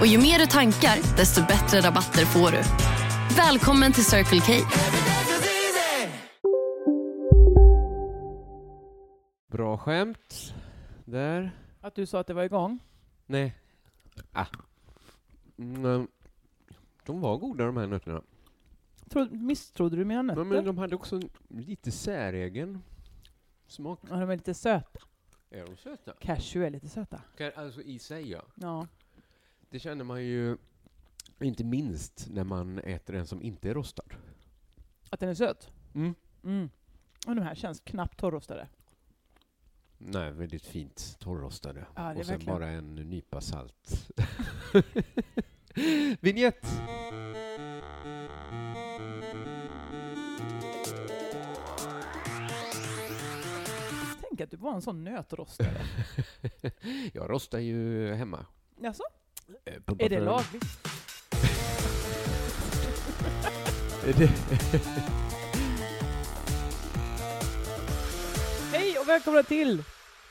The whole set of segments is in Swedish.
Och ju mer du tankar, desto bättre rabatter får du. Välkommen till Circle K. Bra skämt. Där. Att du sa att det var igång. Nej. Ah. Mm, de var goda de här nötterna. Tro, misstrodde du mina nötter? Men, men de hade också en lite säregen smak. Ja, de är lite söta. Är de söta? Cashew är lite söta. Kan- Alltså i sig ja. Ja. Det känner man ju inte minst när man äter en som inte är rostad. Att den är söt? Mm. Mm. Och de här känns knappt torrrostade. Nej, väldigt fint torrrostade. Ja, det är Och sen verkligen- bara en nypa salt. Vignett! Tänk att du var en sån nötrostare. Jag rostar ju hemma. Jaså? Eh, Är pumpar det för- lagligt? Är det- Hej och välkomna till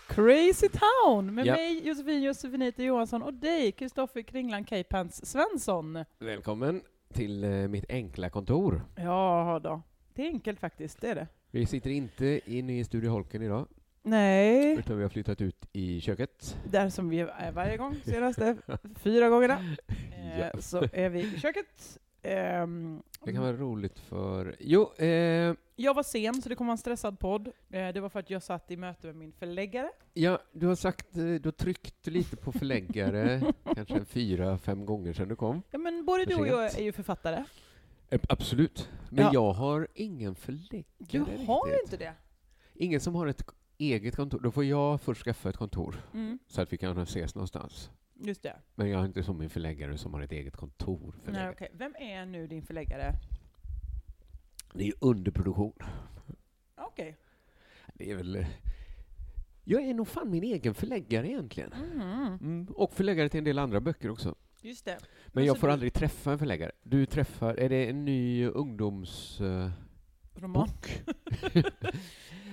Crazy Town med Ja. mig Josefin Josefinita Johansson och dig Kristoffer Kringlan Kajpants Svensson. Välkommen till eh, mitt enkla kontor. Ja då. Det är enkelt faktiskt, det är det. Vi sitter inte inne i Studio Holken idag, Nej, utan vi har flyttat ut i köket. där som vi är varje gång, senaste fyra gångerna. Eh, Ja. Så är vi i köket. Ehm, Det kan vara roligt för... Jo, eh, Jag var sen, så det kommer vara en stressad podd. Eh, Det var för att jag satt i möte med min förläggare. ja, du har sagt, eh, du har tryckt lite på förläggare, kanske en fyra, fem gånger sedan du kom. Ja, men både du och jag Ursäkta. är ju författare. Eh, Absolut. Men Ja. jag har ingen förläggare Du har riktigt. inte det. Ingen som har ett k- eget kontor. Då får jag först skaffa ett kontor, Mm, så att vi kan ses någonstans. just det. Men jag har inte som min förläggare som har ett eget kontor. Nej, Förläggare. okay. Vem är nu din förläggare? Det är ju underproduktion. Okej. Det är väl... eh, Jag är nog fan min egen förläggare egentligen. Mm, Mm. Och förläggare till en del andra böcker också. just det. Men jag så får du- aldrig träffa en förläggare. Du träffar... Är det en ny ungdoms... eh, Roman. ja,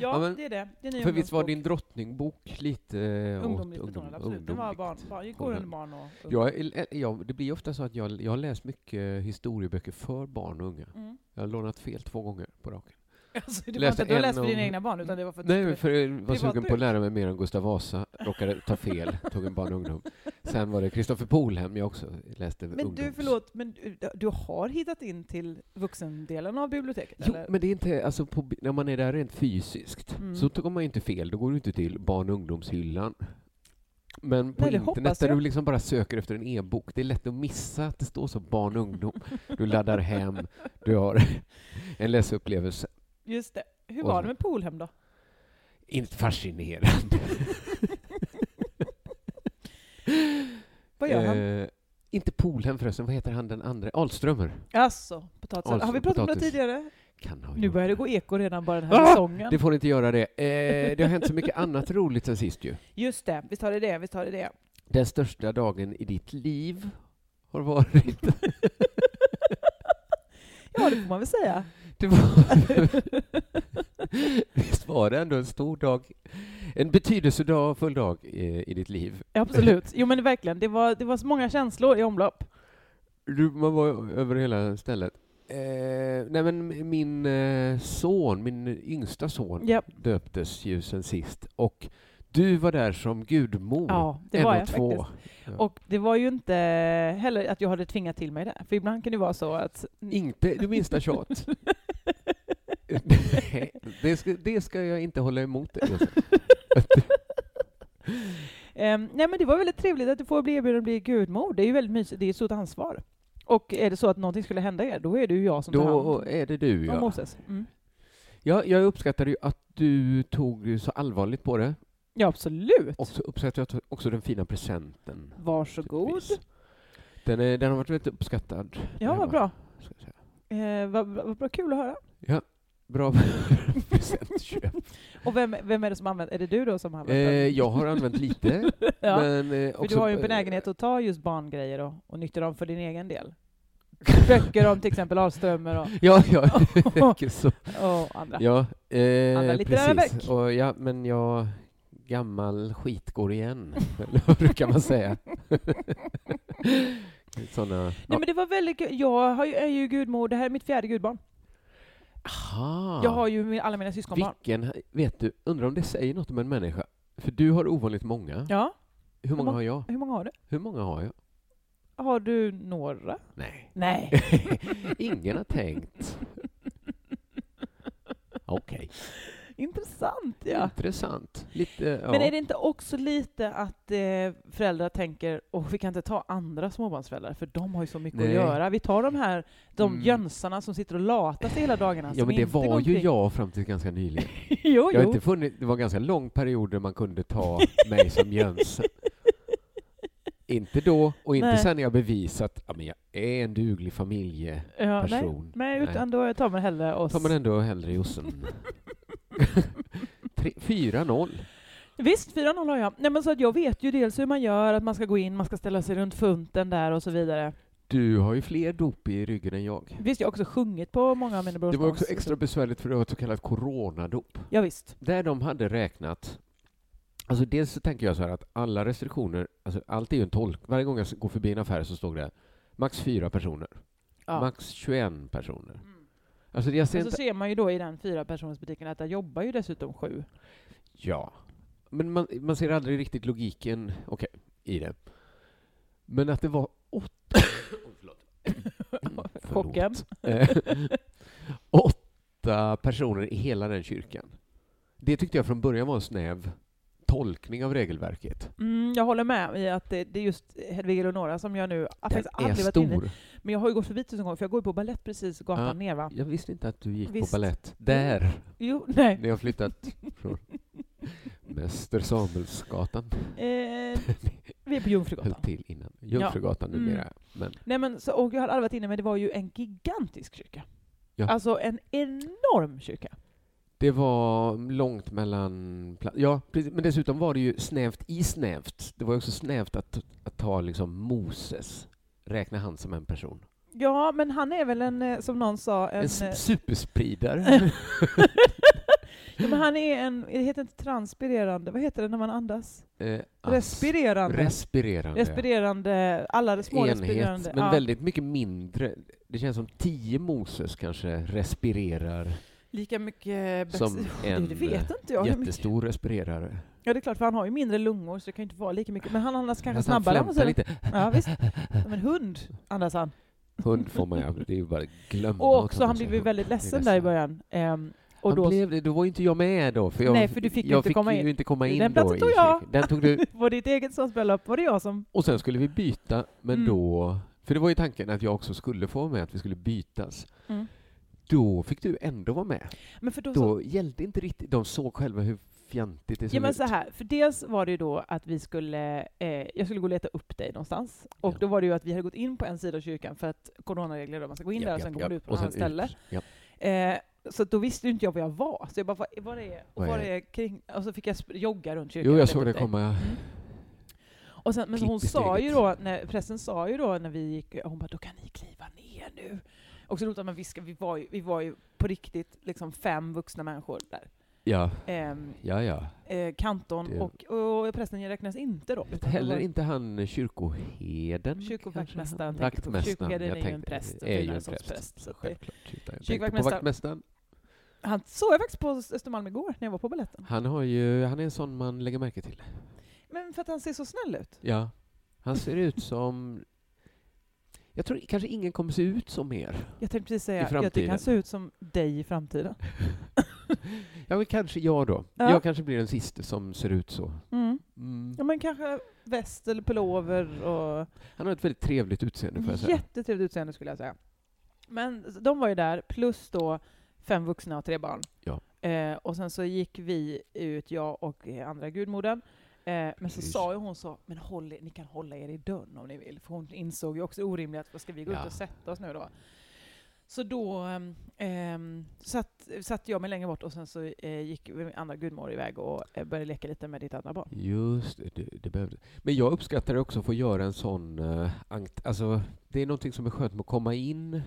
Ja, men- det är det. Det är en ny För visst var ungdomsbok. din drottningbok lite eh, åt Ungdomligt ungdom, betonad, absolut. Den var ungdomligt? barn, barn, det går under barn och ung. Jag, är- jag, eh, det blir ofta så att jag, jag har läst mycket historieböcker för barn och unga. Mm. Jag har lånat fel två gånger på raken. Alltså, det var Läste inte att du har en läst för dina om- egna barn, utan det var för att du Nej, skulle- för jag var sugen på privatbruk. att lära mig mer om Gustav Vasa. Råkade ta fel, tog en barn och ungdom. Sen var det Kristoffer Polhem jag också läste Men du, ungdoms- förlåt, men du, du har hittat in till vuxendelen av biblioteket? Jo, eller? men det är inte, alltså på, bi- när man är där rent fysiskt Mm. så tar man inte fel, då går du inte till barn och ungdomshyllan. Men på Nej, det internet hoppas där jag. du liksom bara söker efter en e-bok, det är lätt att missa att det står så barn och ungdom. Du laddar hem, du har en läsupplevelse. Just det. Hur Och var så- det med Polhem då? Inte fascinerande. Vad gör han? Eh, inte Polhem förresten, vad heter han den andra? Ahlströmer. Alltså, potatis. alltså, har vi pratat om det potatis. tidigare? Kan ha Nu gjort börjar det det. gå eko redan bara den här Ah! säsongen. Det får inte göra det. Eh, det har hänt så mycket annat roligt sen sist ju. Just det, visst har det det, visst har det det. Den största dagen i ditt liv har varit... Ja, det får man väl säga. Det var... Visst var det ändå en stor dag? En betydelsefull dag eh, i ditt liv. Ja, absolut. Jo men verkligen, det var, det var så många känslor i omlopp. Du, man var över hela stället. Eh, nej men min eh, son, min yngsta son, Ja, döptes ju sen sist. Och du var där som gudmor. ja det en var och jag två. faktiskt. Och det var ju inte heller att jag hade tvingat till mig det, för ibland kan det vara så att... Inte det minsta tjat. Nej, det, ska, det ska jag inte hålla emot dig. Josef. Ehm, nej men det var väldigt trevligt att du får bli erbjuden att bli gudmor, det är ju väldigt mysigt, det är ett stort ansvar. Och är det så att någonting skulle hända er, då är det ju jag som tar hand Då om är det du, ja. Moses. Mm. ja. Jag uppskattar ju att du tog så allvarligt på det. Ja, absolut. Och så uppskattar jag också den fina presenten. Varsågod. naturligtvis. Den, är, den har varit väldigt uppskattad. där Ja, hemma, vad bra. ska jag säga. Eh, vad, vad vad bra, kul att höra. Bra presentköp. Och vem, vem är det som använder Är det du då som eh, använder den? jag har använt lite. Ja, men, eh, för också, du har ju en benägenhet att ta just barngrejer och, och nyttja dem för din egen del. Böcker om till exempel Ahlströmer och, Ja, ja. tänker så. och andra. Ja, Alla eh, litterära precis. verk. Och, ja, men jag... Gammal skit går igen, eller vad brukar man säga? Såna... Nej, men det var väldigt kul. Jag har ju, är ju gudmor, det här är mitt fjärde gudbarn. Aha. Jag har ju min- alla mina syskonbarn. Vilken... Vet du, undrar om det säger något om en människa? För du har ovanligt många. Ja, Hur många mång- har jag? hur många har du? Hur många har jag? Har du några? Nej. Nej. Ingen har tänkt. Okej. Intressant ja. Intressant. Lite... Mm. Ja. Men är det inte också lite att eh, föräldrar tänker åh vi kan inte ta andra småbarnsföräldrar för de har ju så mycket att Nej. göra. Vi tar de här de Mm. jönsarna som sitter och latar sig hela dagarna. ja, som men det inte går var ju omkring." jag fram till ganska nyligen. jo, Jag har jo. inte funnit, det var en ganska lång period där man kunde ta mig som Jönsson. inte då och inte Nej. sen när jag bevisat att jag är en duglig familjeperson. ja, nej. nej, utan då tar man hellre Då oss. tar man ändå hellre Jossan. 4-0. Visst, 4-0 har jag. Nej, men så att jag vet ju dels hur man gör, att man ska gå in, man ska ställa sig runt funten där och så vidare. Du har ju fler dop i ryggen än jag. Visst, jag har också sjungit på många av mina brors Det var också dans. extra besvärligt för det var ett så kallat coronadop. Ja, visst. Där de hade räknat Alltså dels så tänker jag så här att alla restriktioner, alltså allt är ju en tolk. Varje gång jag går förbi en affär så står det max fyra personer. Ja. Max 21 personer. Alltså jag ser Men så inte... ser man ju då i den fyra personersbutiken att där jobbar ju dessutom sju. Ja. Men man, man ser aldrig riktigt logiken okej, i det. Men att det var åtta... Oj, förlåt. Förlåt. Chocken. Eh, åtta personer i hela den kyrkan. Det tyckte jag från början var en snäv tolkning av regelverket. Mm, jag håller med i att det, det är just Hedvig Eleonora som jag nu har Den faktiskt är aldrig varit inne i. stor. Men jag har ju gått förbi tusen gånger, för jag går ju på ballett precis gatan Ja. ner va? Jag visste inte att du gick Visst. på ballett. Där, Jo, nej. när jag flyttat från Mäster Samuelsgatan. Eh, vi är på Jungfrugatan. höll till innan. Jungfrugatan Ja. Mm. numera. Men Nej men, så, och jag har aldrig varit inne, men det var ju en gigantisk kyrka. Ja. Alltså en enorm kyrka. det var långt mellan... pla- Ja, precis. men dessutom var det ju snävt i snävt. Det var ju också snävt att, att ta liksom Moses, räkna han som en person. Ja, men han är väl en, eh, som någon sa, en... En, eh, s- superspridare. ja, men han är en, det heter inte transpirerande, vad heter det när man andas? Eh, ass- Respirerande. Respirerande. Respirerande, alla små Enhet, respirerande. men ja. väldigt mycket mindre. Det känns som tio Moses kanske respirerar Lika mycket bensin. som en eh, det vet inte jag. hur mycket- jättestor respirerare. Ja, det är klart, för han har ju mindre lungor så det kan ju inte vara lika mycket. Men han andas kanske Att han snabbare. flämtar lite. Mm, Ja, visst. Som en hund andas han. Hund får man ju, det är ju bara glömma. Och att också, man han säger blev ju hund. väldigt Det är ledsen där i början. Ehm, och han då blev det, då var ju inte jag med då. För jag, Nej, för du fick ju jag inte fick komma ju in. inte komma in Den då platsen i tog jag. kyrkan. Den tog du. var det ditt eget som spelade upp, var det jag som... Och sen skulle vi byta, men Mm. då... För det var ju tanken att jag också skulle få vara med, att vi skulle bytas. Mm. Då fick du ändå vara med. Men för då, så, Då gällde inte riktigt... De såg själva hur fjantigt det såg ja, men så ut. här, för dels var det ju då att vi skulle, eh, jag skulle gå och leta upp dig någonstans. Och Ja. då var det ju att vi hade gått in på en sida av kyrkan för att coronaregler då, man ska gå in Ja, där och ja, sen ja. går man ut på Och något sen annat ställe. ut. Ja. Eh, så att då visste ju inte jag var jag var. Så jag bara, vad vad är, och Vad vad är är kring, och så fick jag sp- jogga runt kyrkan. Jo, och jag leta såg upp det dig. komma. Och sen, men Klipp hon i sa ju steget. då, när, prästen sa ju då när vi gick, hon bara, då kan ni kliva ner nu. Och så roligt att man viskar, vi var ju, vi var ju på riktigt liksom fem vuxna människor där. Ja, Ehm, ja, ja. eh, kanton Det- och, och prästen räknas inte då. utan det Heller var- inte han kyrkoheden. Kyrkovaktmästaren kanske? tänker jag på. Vaktmästaren, Kyrkoherden jag är ju en tänkte- präst och är ju firar en som präst, präst, så att det- Självklart. Jag tänkte på Kyrkovaktmästaren- vaktmästaren. Han såg jag faktiskt på Östermalm igår när jag var på balletten. Han, har ju, han är en sån man lägger märke till. Men för att han ser så snäll ut. Ja. Han ser ut som... Jag tror kanske ingen kommer se ut som mer. Jag tänkte precis säga, jag tycker framtiden. han ser ut som dig i framtiden. Ja, men kanske jag då. Ja. Jag kanske blir den sista som ser ut så. Mm. Mm. Ja, men kanske väst eller pullover och Han har ett väldigt trevligt utseende, får jag säga. jättetrevligt utseende skulle jag säga. Men de var ju där, plus då fem vuxna och tre barn. Ja. Eh, och sen så gick vi ut, jag och eh, andra gudmodern, Eh, men så Precis. sa ju hon så, men håll, er- ni kan hålla er i dörren om ni vill. För hon insåg ju också orimligt, vad ska vi gå Ja. ut och sätta oss nu då? Så då ehm, ehm, satt, satt jag mig längre bort och sen så eh, gick min andra gudmor iväg och eh, började leka lite med ditt andra barn. Just det, det, det behövde. Men jag uppskattar också att få göra en sån... Uh, alltså, det är någonting som är skönt med att komma in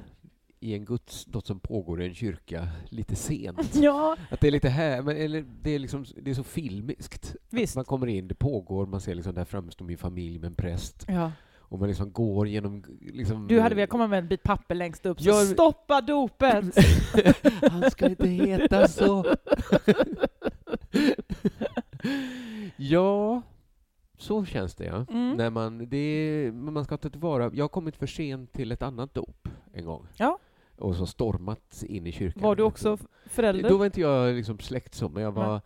i en gudsdott som pågår i en kyrka lite sent. Ja, Att det är lite här, men, eller det är, liksom, det är så filmiskt. Att Visst. Man kommer in, det pågår, man ser liksom där framme står min familj med en präst ja. och man liksom går genom... Liksom, Du hade velat komma med en bit papper längst upp, så Jag- stoppa dopet! Han ska inte heta så. ja, så känns det ja. Mm. När man, det är, men man ska ta tillvara. Jag har kommit för sent till ett annat dop en gång. Ja. Och så stormat in i kyrkan. Var du också f- förälder? Då var inte jag liksom släkt så, men jag var... Nej.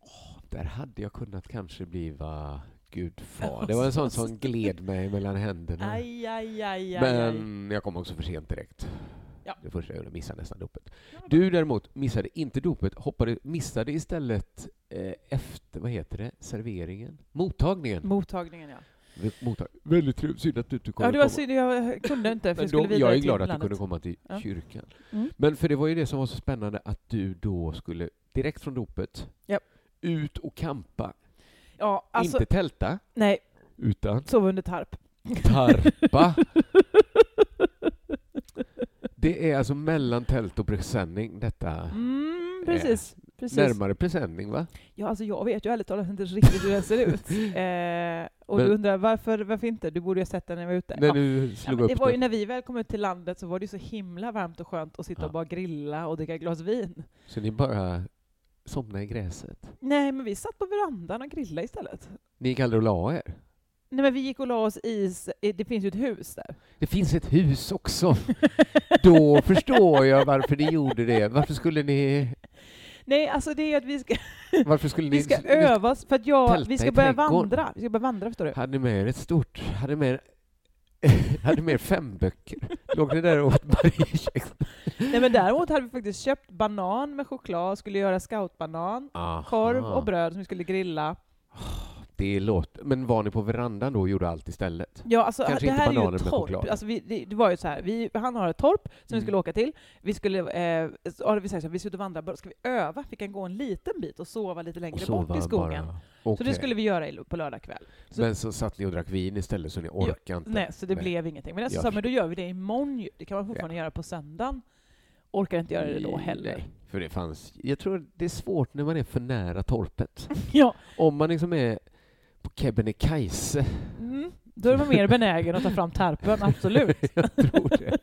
Åh, där hade jag kunnat kanske bliva gudfar. Det var en sån som gled mig mellan händerna. Aj, aj, aj, aj, aj. Men jag kom också för sent direkt. Ja. Det första jag gjorde, missade nästan dopet. Ja, men- Du däremot missade inte dopet, hoppade, missade istället eh, efter, vad heter det, serveringen? Mottagningen. Mottagningen ja. Mottag Väldigt trevligt, synd att du inte kunde Ja, det var komma. synd, jag kunde inte för Men jag skulle då, vidare jag är till glad att du landet. kunde komma till Ja. kyrkan. Mm. Men för det var ju det som var så spännande att du då skulle, direkt från dopet, Japp. ut och kampa. Ja, alltså, Inte tälta, nej, utan sov under tarp. tarpa. det är alltså mellan tält och presenning detta. Mm, precis. precis. Närmare presenning, va? Ja, alltså jag vet ju ärligt talat inte riktigt hur den ser ut. Eh, och Men- du undrar varför, varför inte? Du borde ju ha sett den när jag var ute. När Ja. du Ja, slog men det upp var ju den. när vi väl kom ut till landet så var det ju så himla varmt och skönt att sitta Ja. och bara grilla och dricka ett glas vin. Så ni bara somnade i gräset. Nej, men vi satt på verandan och grillade istället. Ni gick aldrig och la er. Nej, men vi gick och la oss i, s- eh, det finns ju ett hus där. Det finns ett hus också. Då förstår jag varför ni gjorde det. Varför skulle ni... Nej, alltså det är att vi ska, Varför skulle ni... vi ska öva oss för att jag, Tälta vi i ska börja trädgården. vandra. Vi ska börja vandra, förstår du. Hade ni med er ett stort... Hade ni med er... Hade ni med er fem böcker? Låg ni där och åt Marie Nej men däremot hade vi faktiskt köpt banan med choklad, skulle göra scoutbanan, korv och bröd som vi skulle grilla. Det låter... Men var ni på verandan då och gjorde allt istället? Ja, alltså, Kanske det inte här är bananer ju med ett choklad. torp. Alltså, vi, det, det var ju så här, vi, han har ett torp som vi skulle Mm. åka till. Vi skulle, eh, så hade vi sagt så här, vi ska ut och vandra, bara ska vi öva? Vi kan gå en liten bit och sova lite längre bort i skogen. Så det Okej. skulle vi göra i- på lördag kväll. så- Men så satt ni och drack vin istället så ni orkade inte. Nej, så det Nej. blev ingenting. Men jag Jag sa, men då gör vi det imorgon ju. Det kan man fortfarande göra på söndagen. Orkar inte göra det då Nej, heller. för det fanns... Jag tror det är svårt när man är för nära torpet. Ja, Om man liksom är på Kebnekaise. mm, då är man mer benägen att ta fram tarpen, absolut. jag tror det.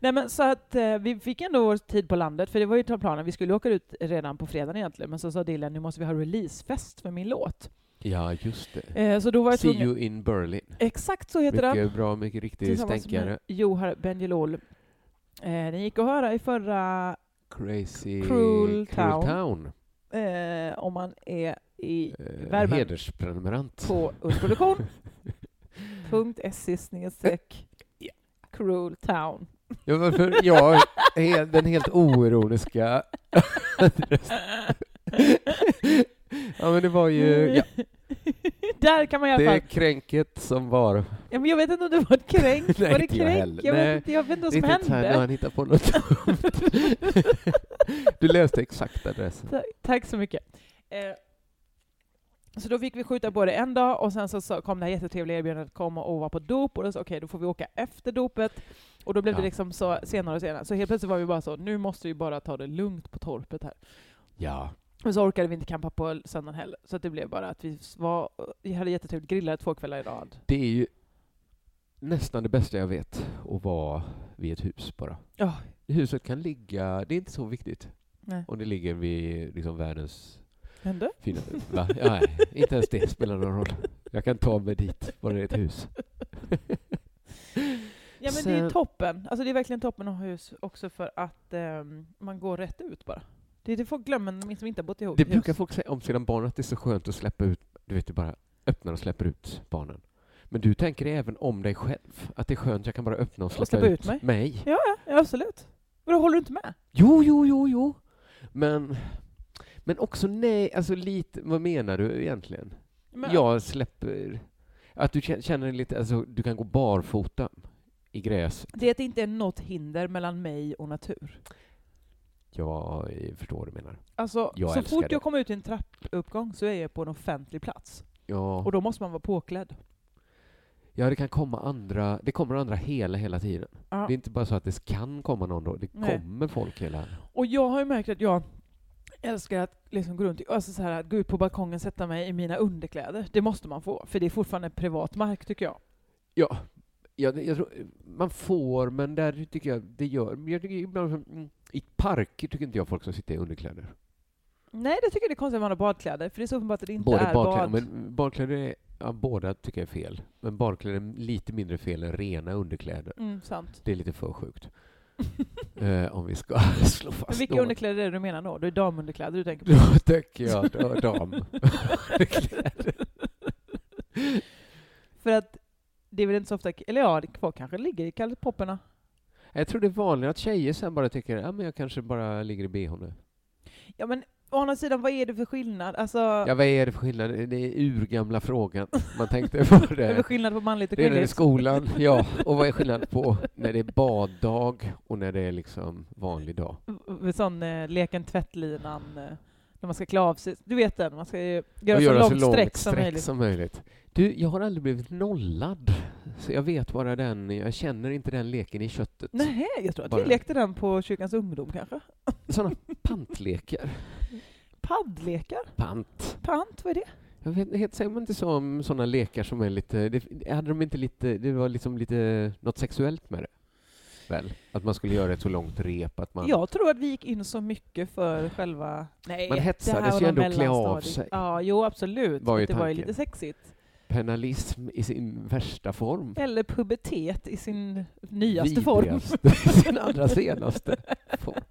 Nej men så att eh, vi fick ändå vår tid på landet, för det var ju planen. Vi skulle åka ut redan på fredagen egentligen, men så sa Dylan nu måste vi ha releasefest för min låt. Ja, just det. Eh, så då var jag See tvungen... you in Berlin. Exakt så heter den. Mycket bra, mycket riktig Tillsammans stänkare. med Johar Bendjelloul. Eh, den gick att höra i förra, Crazy Cruel Town. Town. eh, om man är i Eh, Värmen. Hedersprenumerant. på ullproduktion.se E snedstreck Ja. cruel town. Ja, varför? Ja, he- den helt oironiska. Ja, men det var ju ja, Där kan man i Mm, alla det fall kränket som var. Ja, men jag vet inte om du var kränkt. Nej, var det inte jag kränkt? heller. Jag, Nej, vet inte, jag vet inte vad som Riktigt så här, nu har hände. han hittat på något Du läste exakt adressen. Ta- Tack så mycket. Eh, så då fick vi skjuta på det en dag och sen så, så kom det här jättetrevliga erbjudandet att komma och vara på dop och då sa okej, då får vi åka efter dopet. Och då blev Ja. det liksom så senare och senare. Så helt plötsligt var vi bara så, nu måste vi bara ta det lugnt på torpet här. Ja. Och så orkade vi inte campa på söndagen heller. Så att det blev bara att vi, var, vi hade jättetrevligt, grillade två kvällar i rad. Det är ju nästan det bästa jag vet, att vara vid ett hus bara. Ja. Huset kan ligga, det är inte så viktigt Nej. om det ligger vid liksom världens Hände? fina... Va? Ja, nej, inte ens det spelar någon roll. Jag kan ta mig dit, bara det är ett hus. Ja men det är Sen- toppen. Alltså det är verkligen toppen att ha hus också för att ehm, man går rätt ut bara. Det är det folk glömmer när de som inte har bott ihop. Det brukar folk säga om sina barn, att det är så skönt att släppa ut, du vet, du bara öppnar och släpper ut barnen. Men du tänker det även om dig själv, att det är skönt, jag kan bara öppna och släppa, släppa ut mig. mig. Ja, absolut. Men då håller du inte med? Jo, jo, jo, jo. Men, Men också nej, alltså lite, vad menar du egentligen? Men, Jag släpper... Att du kä- känner lite, alltså du kan gå barfota i gräset. Det inte är något hinder mellan mig och natur. Ja, jag förstår vad du menar. Alltså, Jag så älskar fort det. jag kommer ut i en trappuppgång så är jag på en offentlig plats. Ja, Och då måste man vara påklädd. ja det kan komma andra, det kommer andra hela, hela tiden. Ja. Det är inte bara så att det kan komma någon då, det Nej. kommer folk hela... Och jag har ju märkt att jag älskar att liksom gå runt, i- alltså så här, att gå ut på balkongen och sätta mig i mina underkläder. Det måste man få, för det är fortfarande privat mark tycker jag. Ja, jag, jag tror, man får, men där tycker jag det gör... men Jag tycker ibland, som- mm, I parker tycker inte jag folk ska sitta i underkläder. Nej, det tycker jag det är konstigt att man har badkläder, för det är så uppenbart att det inte Både är badkläder, bad. men badkläder är, ja, båda tycker jag är fel. Men badkläder är lite mindre fel än rena underkläder. Mm, sant. Det är lite för sjukt. eh, om vi ska slå fast Men vilka något. underkläder är det du menar då? Det är damunderkläder du tänker på? Då tycker jag då, dam. För att det är väl inte så ofta, eller ja, det kvar kanske ligger i kalpopperna. jag tror det är vanligt att tjejer sen bara tycker ja, men jag kanske bara ligger i bh nu. Ja men å andra sidan, vad är det för skillnad? Alltså, Ja, vad är det för skillnad? Det är urgamla frågan. Man tänkte på vad är det för det. skillnad på manligt och Det är när det är kvinnligt? skolan, ja. Och vad är skillnaden på när det är baddag och när det är liksom vanlig dag? V- Sån eh, leken tvättlinan, eh, när man ska klä av sig. Du vet den, man ska ju göra och så göra långt sträck som möjligt. som möjligt. Du, jag har aldrig blivit nollad. Så jag vet bara den, jag känner inte den leken i köttet. Nej, jag tror att Bara- vi lekte den på kyrkans ungdom kanske. Sådana pantlekar. Paddlekar? Pant. Pant, vad är det? Jag vet inte, heter- säger man inte så om sådana lekar som är lite, det, hade de inte lite, det var liksom lite något sexuellt med det? Väl? Att man skulle göra ett så långt rep att man... Jag tror att vi gick in så mycket för själva... Nej, Man det hetsades här var ju någon ändå att klä av mellanstadie. sig. Ja, jo absolut. Var ju det var ju tanken. lite sexigt. Penalism i sin värsta form. Eller pubertet i sin nyaste form. Vidrigaste. sin allra senaste form.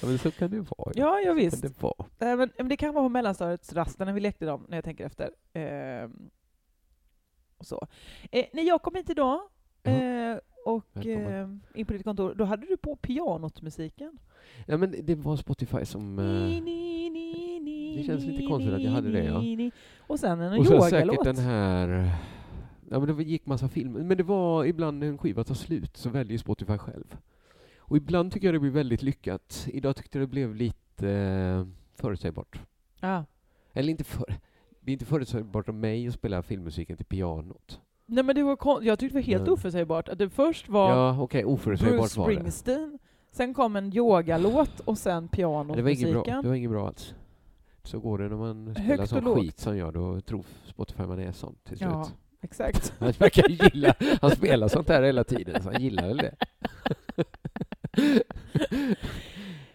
ja, men så kan det ju vara. ju. Ja, ja Kan visst. det vara. Nej, men, men det kan vara på mellanstadiets raster när vi lekte dem, när jag tänker efter. Ehm, och så. Eh, när jag kom hit idag Ja. eh, och eh, Mm-hmm. Välkommen. in på ditt kontor, då hade du på pianot musiken. Ja, men det var Spotify som... eh, det känns lite konstigt att jag hade det, ja. Och sen en Och så yogalåt. säkert den här... Ja, men det gick massa filmer. Men det var ibland när en skiva tar slut så väljer Spotify själv. Och ibland tycker jag det blir väldigt lyckat. Idag tyckte jag det blev lite eh, förutsägbart. Ja. Eller inte för... Det är inte förutsägbart av mig att spela filmmusiken till pianot. Nej, men det var kon- jag tyckte det var helt Mm. oförutsägbart att det först var Ja, okej, Bruce oförutsägbart var det. Springsteen, sen kom en yogalåt och sen Ja, Det var inget bra. pianotmusiken. Det var inget bra alls. Så går det när man Högt spelar och sån lågt. skit som jag, då tror Spotify man är sån till slut. Ja, exakt. Han verkar ju gilla, han spelar sånt här hela tiden, så han gillar väl det.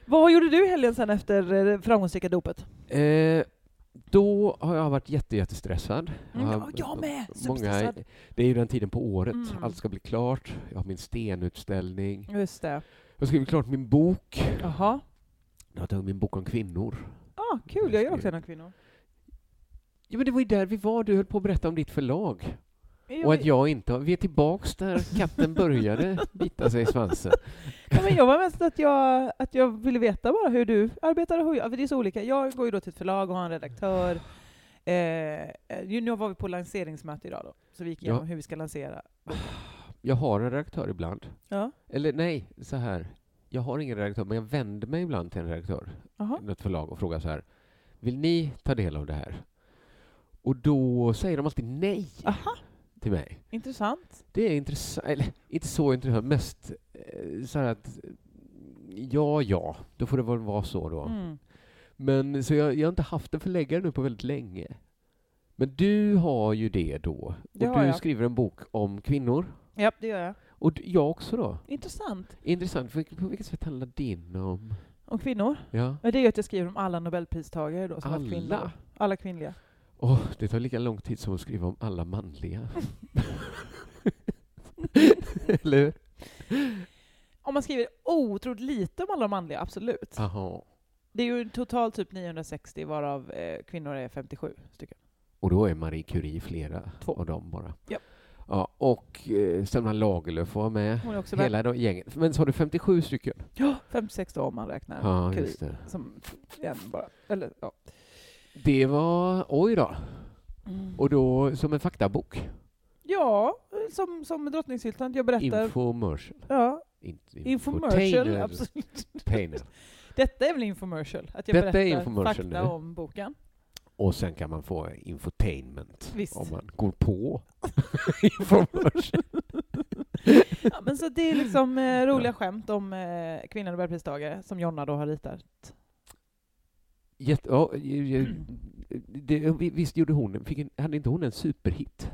Vad gjorde du i helgen sen efter eh, det framgångsrika dopet? Eh, då har jag varit jätte, jättestressad. Mm, har- ja, jag med! Många, Superstressad. det är ju den tiden på året. Mm. Allt ska bli klart. Jag har min stenutställning. Just det. Jag har skrivit klart min bok. Jaha. Jag har tagit min bok om kvinnor. Ah, kul, jag gör också en av kvinnor. Ja, men det var ju där vi var. Du höll på att berätta om ditt förlag. Och att jag inte har... Vi är tillbaks där katten började bita sig i svansen. Ja, men jag var mest att jag, att jag ville veta bara hur du arbetar. och Hur jag, för det är så olika. Jag går ju då till ett förlag och har en redaktör. Eh, eh, ju, nu var vi på lanseringsmöte idag då, så vi gick Ja. igenom hur vi ska lansera. Jag har en redaktör ibland. Ja. Eller nej, så här. Jag har ingen redaktör, men jag vänder mig ibland till en redaktör, Aha. något förlag, och frågar så här. Vill ni ta del av det här? Och då säger de alltid nej Aha, till mig. intressant. Det är intressant, eller inte så intressant, mest eh, så här att eh, ja, ja, då får det väl vara så då. Mm. Men så jag, jag har inte haft en förläggare nu på väldigt länge. Men du har ju det då. Det och har du jag. skriver en bok om kvinnor. Ja, det gör jag. Och du, jag också då. Intressant. Intressant. På, på vilket sätt handlar din om? Om kvinnor? Ja. Ja, det är ju att jag skriver om alla nobelpristagare då, som har Alla? varit kvinnor. Alla kvinnliga. Åh, det tar lika lång tid som att skriva om alla manliga. Eller hur? Om man skriver otroligt lite om alla manliga, absolut. Aha. Det är ju totalt typ 960 varav eh, kvinnor är 57 stycken. Och då är Marie Curie flera Två. av dem bara. Ja. Ja, och eh, Selma Lagerlöf var med. Hon är också med. Hela de gänget. Men sa du 57 stycken? Ja, 56 då om man räknar. Ja, Curie just det. Som en bara. Eller, ja. Det var... Oj då. Och då som en faktabok. ja, som, som Drottningshyltan. Jag berättar. Infomercial. ja, In, infomercial, absolut. Infotainer. Detta är väl infomercial? Att jag Detta är berättar infomercial fakta nu. om boken. Och sen kan man få infotainment Visst. om man går på infomercial. Ja, men så det är liksom eh, roliga skämt om eh, kvinnliga nobelpristagare som Jonna då har ritat. Jätte, ja, ju- Mm. ju- det, eh, vi- visst gjorde hon, fick en, hade inte hon en superhit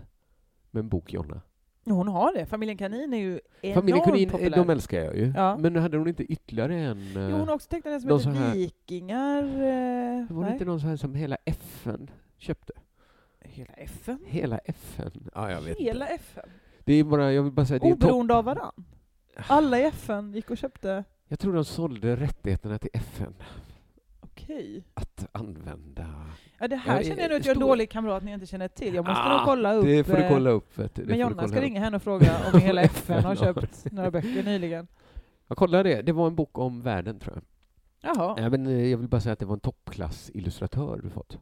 med en bok, Jonna? Hon har det. Familjen Kanin är ju enormt Familjen Kurin, eh, populär. de älskar jag ju. Ja. Men hade hon inte ytterligare en... Jo, hon eh, har också tecknat en som De heter så här- Vikingar. eh, var det nej. inte någon sån här som hela FN köpte? Hela FN? Hela FN? Ja, jag vet Hela inte. FN? Det är bara, jag vill bara säga, det är topp. Oberoende av varann. Alla i FN gick och köpte. Jag tror de sålde rättigheterna till FN Okej. att använda. Ja, det här Ja, känner eh, jag nu att jag är en stor- dålig kamrat när jag inte känner till. Jag måste Ah, nog kolla upp. det får du eh, kolla upp. Vet du. Det Men får du Jonna kolla ska upp. ringa henne och fråga om hela FN FN har- har köpt några böcker nyligen. Jag kollar det. Det var en bok om världen, tror jag. Jaha. Nej, men eh, jag vill bara säga att det var en toppklassillustratör du fått.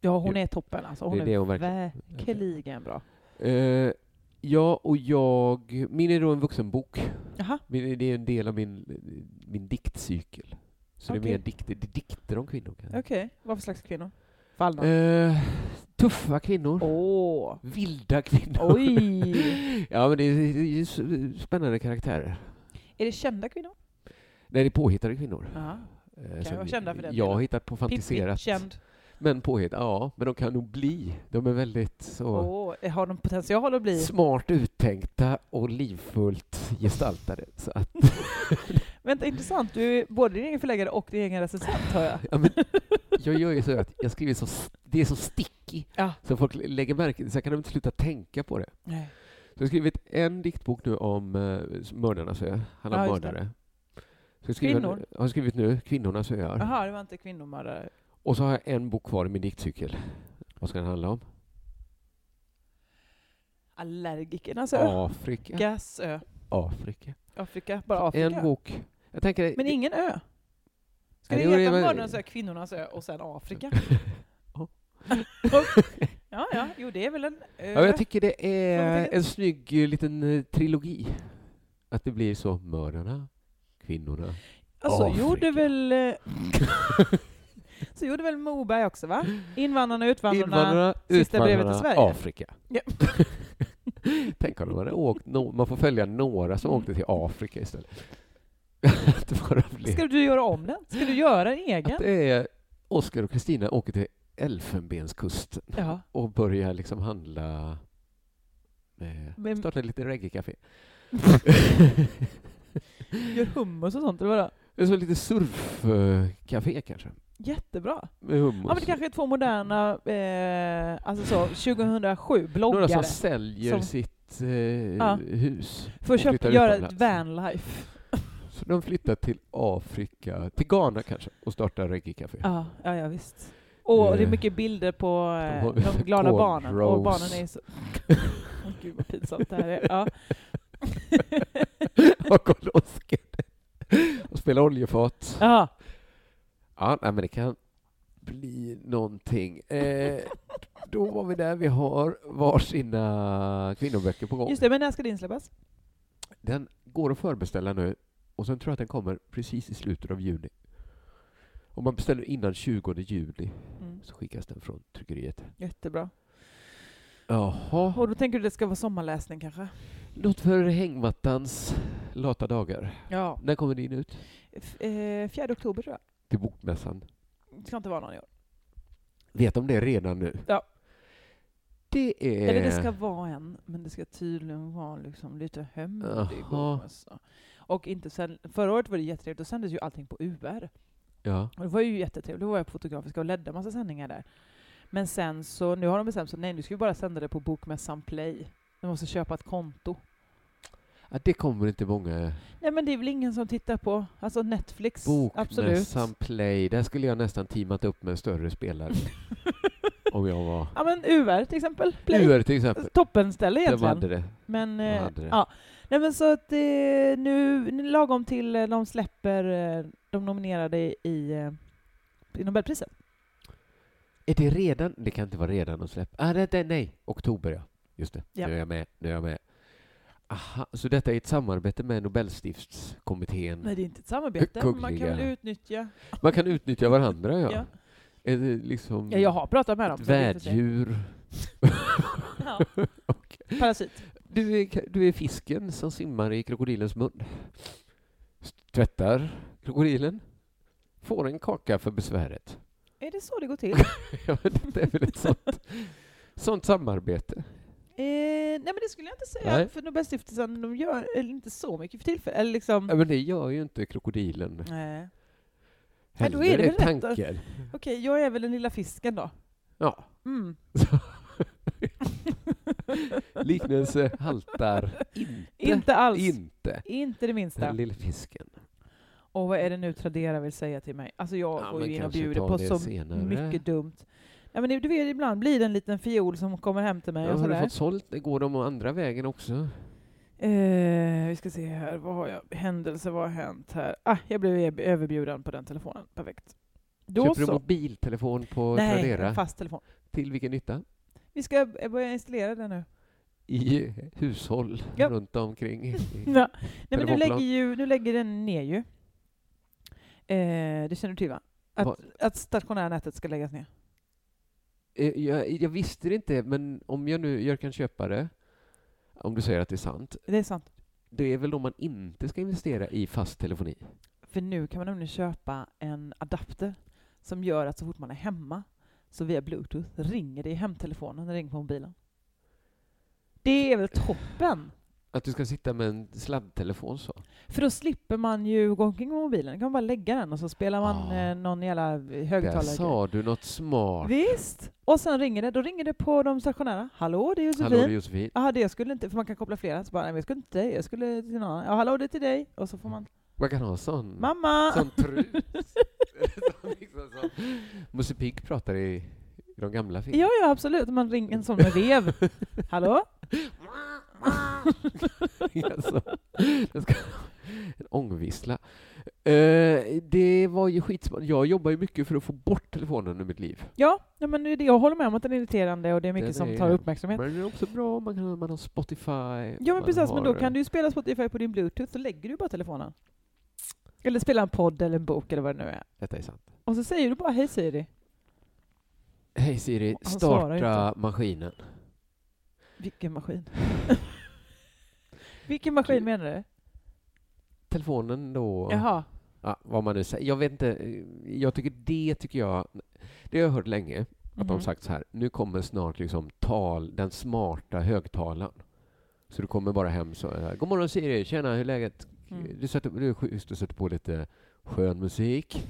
Ja, hon är toppen alltså. Hon det är det är hon verkligen... verkligen bra. Eh, ja, och jag... Min är då en vuxenbok. Jaha. Min, det är en del av min, min diktcykel. Så det Okej. är mer dikter, det är dikter om kvinnor. kanske. Okej. Vad för slags kvinnor? Fallna. Eh, tuffa kvinnor. Åh. Vilda kvinnor. Oj. Ja, men det är, det är ju s- spännande karaktärer. Är det kända kvinnor? Nej, det är påhittade kvinnor. Ja. Eh, jag som vara kända för den Jag delen? har hittat på Pippi, fantiserat. känd. Men påhittade, ja. Men de kan nog bli. De är väldigt så... Åh, har de potential att bli? smart uttänkta och livfullt gestaltade. Så att, Vänta, intressant. Du är både din egen förläggare och din egen recensent, hör jag. ja, men, jag gör ju så att jag skriver så, st- det är så sticky Ja. så folk lägger märke till Sen kan de inte sluta tänka på det. Nej. Så jag har skrivit en diktbok nu om eh, mördarnas ö, handlar om Ja, just det. mördare. Så jag skriver, Kvinnor. Jag har skrivit nu, Kvinnornas öar. Jaha, det var inte kvinnomördare. Och så har jag en bok kvar i min diktcykel. Vad ska den handla om? Allergikernas ö. Afrika. Gas Alltså, ö. Afrika. Afrika, bara Afrika. En bok. Jag tänker... Men ingen ö. Ska Nej, det det var- heta det var- Mördarnas ö, Kvinnornas ö och sen Afrika? Ja. ja, ja. Jo, det är väl en ö. Ja, jag tycker det är Frågetecken. en snygg eh, liten eh, trilogi. Att det blir så mördarna, kvinnorna. alltså, Afrika. gjorde väl... eh, så gjorde väl Moberg också, va? Invandrarna och utvandrarna. Invandrarna, sista brevet till utvandrarna, Sverige. Afrika. Ja. Tänk om man hade åkt, no- man får följa några Mm. som åkte till Afrika istället. Att bara bli- Ska du göra om den? Ska du göra en egen? Att det är Oskar och Kristina åker till Elfenbenskusten Ja. och börjar liksom handla med, Men- starta lite reggae-café. Gör hummus och sånt, eller vadå? Det är som lite surfcafé kanske. Jättebra. Med hummus. Ja, men det kanske är två moderna, eh, alltså så, 2007, Några som bloggare. säljer Som- sitt eh, Ja. hus. För och att köpa, flyttar göra ett utomlands. vanlife. Så de flyttar till Afrika, till Ghana kanske, och startar reggae-café. Ja, ja, ja visst. Och det är Eh, mycket bilder på eh, har- de, glada på barnen. Och Rose. barnen är så... Åh, Gud vad pinsamt det här är. Ja. och Karl Oskar. Och spelar oljefat. Ja. Ja, nej, men det kan bli någonting. Eh, då var vi där. Vi har varsina kvinnoböcker på gång. Just det, men när ska din släppas? Den går att förbeställa nu och sen tror jag att den kommer precis i slutet av juni. Om man beställer innan 20 juli Mm. så skickas den från tryckeriet. Jättebra. Jaha. Och då tänker du det ska vara sommarläsning kanske? Något för hängmattans lata dagar. Ja. När kommer din ut? F- eh, 4 oktober tror jag. Till bokmässan. Det ska inte vara någon i år. Vet de det redan nu? Ja. Det är... Eller det ska vara en, men det ska tydligen vara liksom lite hemlig Jaha. alltså. Och inte sen, förra året var det jättetrevligt, då sändes ju allting på UR. Ja. Och det var ju jättetrevligt, då var jag på Fotografiska och ledde massa sändningar där. Men sen så, nu har de bestämt sig, nej nu ska vi bara sända det på Bokmässan Play. Du måste köpa ett konto. ja. Det kommer inte många... Nej men det är väl ingen som tittar på, alltså Netflix, absolut. Bokmässan Play. Där skulle jag nästan teamat upp med en större spelare. om jag var Ja men UR till exempel. Play. UR till exempel. Toppenställe De egentligen. hade det. Men, De eh, hade det. ja. Nej, men så att eh, nu, nu lagom till eh, de släpper eh, de nominerade i, eh, i Nobelpriset. Mm. Är det redan? Det kan inte vara redan de släpper. Ah, det, det, nej, oktober ja. Just det. Ja. Nu är jag med. Nu är jag med. Aha, så detta är ett samarbete med Nobelstiftskommittén. Nej, det är inte ett samarbete. men Man kan Kungliga. väl utnyttja... Man kan utnyttja varandra, ja. Ja. Är det liksom Ja, jag har pratat med dem. så ett det är inte så- värddjur? Ja. Parasit. Du är, du är fisken som simmar i krokodilens mun. S- Tvättar krokodilen. Får en kaka för besväret. Är det så det går till? ja, men det är väl ett sånt, sånt samarbete. Eh, nej men det skulle jag inte säga, Nej. för Nobelstiftelsen de gör eller, inte så mycket för tillfället. Eller liksom, Ja, men det gör ju inte krokodilen nej. Ja, heller. då är det väl rätt att- tanken. Okej, jag är väl den lilla fisken då. Ja, Mm. liknelse haltar Inte alls. inte. Inte det minsta. Den lille fisken. Och vad är det nu Tradera vill säga till mig? Alltså jag Ja, går men ju in och kanske bjuder ta på det så senare. mycket dumt. Ja, men det- du vet, ibland blir det en liten fiol som kommer hem till mig Ja, och har du sådär. fått sålt? Det går de andra vägen också. Eh, vi ska se här, vad har jag? Händelser, vad har hänt här? Ah, jag blev e- överbjuden på den telefonen. Perfekt. Då Köper du så. mobiltelefon på Nej, Tradera? en fast telefon. Till vilken nytta? Vi ska eh, börja installera den nu. Mm. I hushåll Ja. runt omkring. i- i- Ja. Nej, men nu Telefonbolag. lägger, ju, nu lägger den ner ju. Eh, det känner du till va? Vad- Att, att stationära nätet ska läggas ner. Eh, Jag, jag visste det inte, men om jag nu jag kan köpa det, om du säger att det är sant, Det är sant. det är väl då man inte ska investera i fast telefoni? För nu kan man nämligen köpa en adapter som gör att så fort man är hemma så via bluetooth ringer det i hemtelefonen, det ringer på mobilen. Det är väl toppen? Att du ska sitta med en sladdtelefon så? För då slipper man ju gå omkring med mobilen. Då kan man bara lägga den och så spelar man Ah. eh, någon jävla Där högtalare. sa du något smart. Visst! Och sen ringer det. Då ringer det på de stationära. Hallå, det är Hallå, det är Josefin. Josefin. Jaha, det skulle inte, för man kan koppla flera. Så bara, nej, men jag skulle inte till dig, jag skulle till någon annan. Ja, hallå, det är till dig. Och så får man, Man kan ha en sån, mamma! sån trut. Sån liksom som Musse Pigg pratar i, i de gamla filmerna. Ja, ja, absolut. Man ringer en sån med vev. hallå? alltså, jag ska, en ångvissla. Eh, det var ju skitsmart. Jag jobbar ju mycket för att få bort telefonen ur mitt liv. Ja, ja, men det är det jag håller med om att den är irriterande och det är mycket Den som är- tar uppmärksamhet. Men det är också bra, man, kan, man har Spotify. Ja, men man precis. Men då har- kan du ju spela Spotify på din bluetooth, så lägger du bara telefonen. Eller spela en podd eller en bok eller vad det nu är. Detta är sant. Och så säger du bara hej Siri. Hej Siri, Han svarar starta maskinen. Vilken maskin. Vilken maskin menar du? Telefonen då, Jaha. ja, vad man nu säger. Jag vet inte, eh, jag tycker det tycker jag, det har jag hört länge, att de har Mhm. sagt så här, nu kommer snart liksom tal, den smarta högtalaren. Så du kommer bara hem så här, God morgon Siri, tjena, hur är läget? Mm. Du sätter, du, är schysst, du sätter på lite skön musik.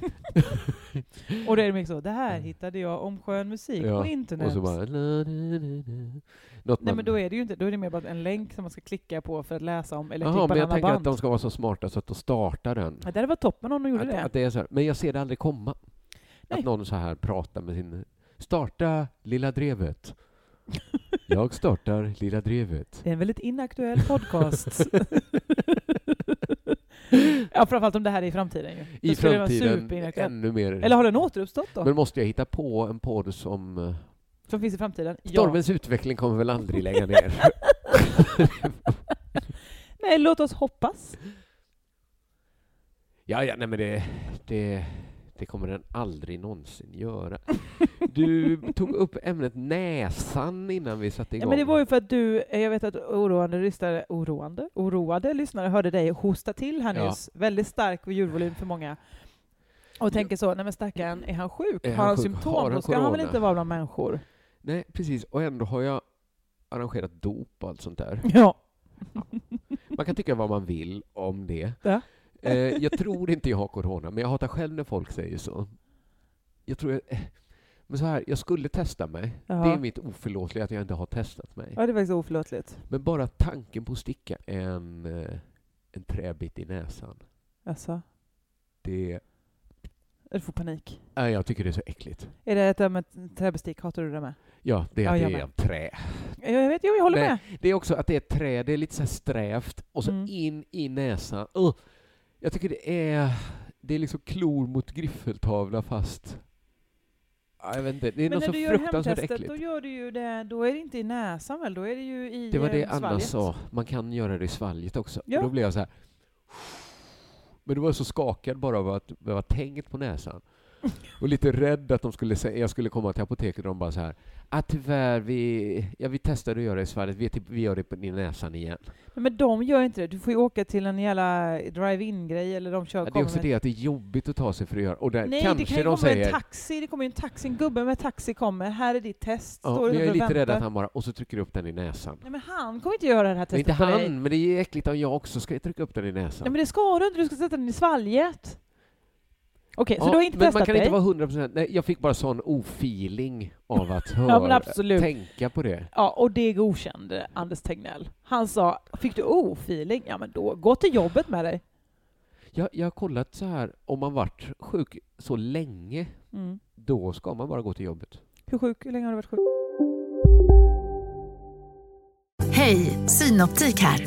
Och då är det mycket så, det här hittade jag om skön musik Mm. Ja, på internet. Och så bara... La, la, la, la. Något Nej man- men då är det ju inte, då är det mer bara en länk som man ska klicka på för att läsa om eller Jaha, klippa men en jag annan tänker band. att de ska vara så smarta så att de startar den. Ja, det hade varit toppen om de gjorde Att, det. att det är så här. Men jag ser det aldrig komma. Nej. Att någon så här pratar med sin... Starta Lilla Drevet. Jag startar Lilla Drevet. Det är en väldigt inaktuell podcast. ja, framförallt om det här är i framtiden ju. Då I skulle det vara framtiden superinaktuellt. ännu mer. Eller har den återuppstått då? Men måste jag hitta på en podd som... eh, Som finns i framtiden? Stormens utveckling kommer väl aldrig lägga ner? Nej, låt oss hoppas. Ja, ja, nej men det, det, det kommer den aldrig någonsin göra. Du tog upp ämnet näsan innan vi satte Ja, igång. men det var ju för att du, eh, jag vet att oroande lyssnare, oroande, oroade lyssnare hörde dig hosta till här Ja. nyss. Väldigt stark ljudvolym för många. Och tänker så, nej men stackaren, är han sjuk? Är har han han sjuk? symptom? Har han då ska han väl corona? inte vara bland människor? Nej, precis. Och ändå har jag arrangerat dop och allt sånt där. Ja. Man kan tycka vad man vill om det. Ja. Eh, jag tror inte jag har corona, men jag hatar själv när folk säger så. Jag tror jag, eh, men så här, jag skulle testa mig. Ja. Det är mitt oförlåtliga att jag inte har testat mig. ja, det är faktiskt oförlåtligt. Men bara tanken på att sticka en, eh, en träbit i näsan, Alltså. det Du får panik. Nej, jag tycker det är så äckligt. Är det ett, med träbestick? Hatar du det med? Ja, det är Ja, att jag det är med. av trä. Ja, Jag vet, jo, jag håller Nej. med. Det är också att det är ett trä, det är lite så här strävt och så Mm. in i näsan. Ugh. Jag tycker det är... Det är liksom klor mot griffeltavla fast... Ja, Jag vet inte, det är Men något när så du gör fruktansvärt hemtestet, äckligt. då gör du ju det, då är det inte i näsan väl? Då är det ju i Det var det eh, Anna svalget. sa, man kan göra det i svalget också. Ja. Och då blev jag så här... Men du var jag så skakad bara av att behöva tänget på näsan. Och lite rädd att de skulle säga, jag skulle komma till apoteket och de bara så här, att tyvärr, vi, ja, vi testade att göra det i svalget, vi, vi gör det på din näsan igen. Nej, Men de gör inte det. Du får ju åka till en jävla drive-in-grej eller de kör... Ja, det är kommer också med- det att det är jobbigt att ta sig för att göra, och där Nej, kanske det kan ju komma de säger, en taxi. Det kommer ju en taxi. En gubbe med taxi kommer. Här är ditt test. ja, Står men jag är utanför och lite rädd väntar. att han bara, och så trycker du upp den i näsan. Nej, men han kommer inte göra det här Men testet inte på dig. han, men det är äckligt om jag också ska trycka upp den i näsan. Nej, men det ska du inte. Du ska sätta den i svalget. Okej, så Ja, du har inte men testat man kan inte dig? vara 100%, nej jag fick bara sån ofeeling av att Ja, men höra, absolut. tänka på det. Ja, och det godkände Anders Tegnell. Han sa, fick du o-feeling? Ja, men då, gå till jobbet med dig. Jag, jag har kollat så här, om man varit sjuk så länge, Mm. då ska man bara gå till jobbet. Hur sjuk, hur länge har du varit sjuk? Hej, Synoptik här.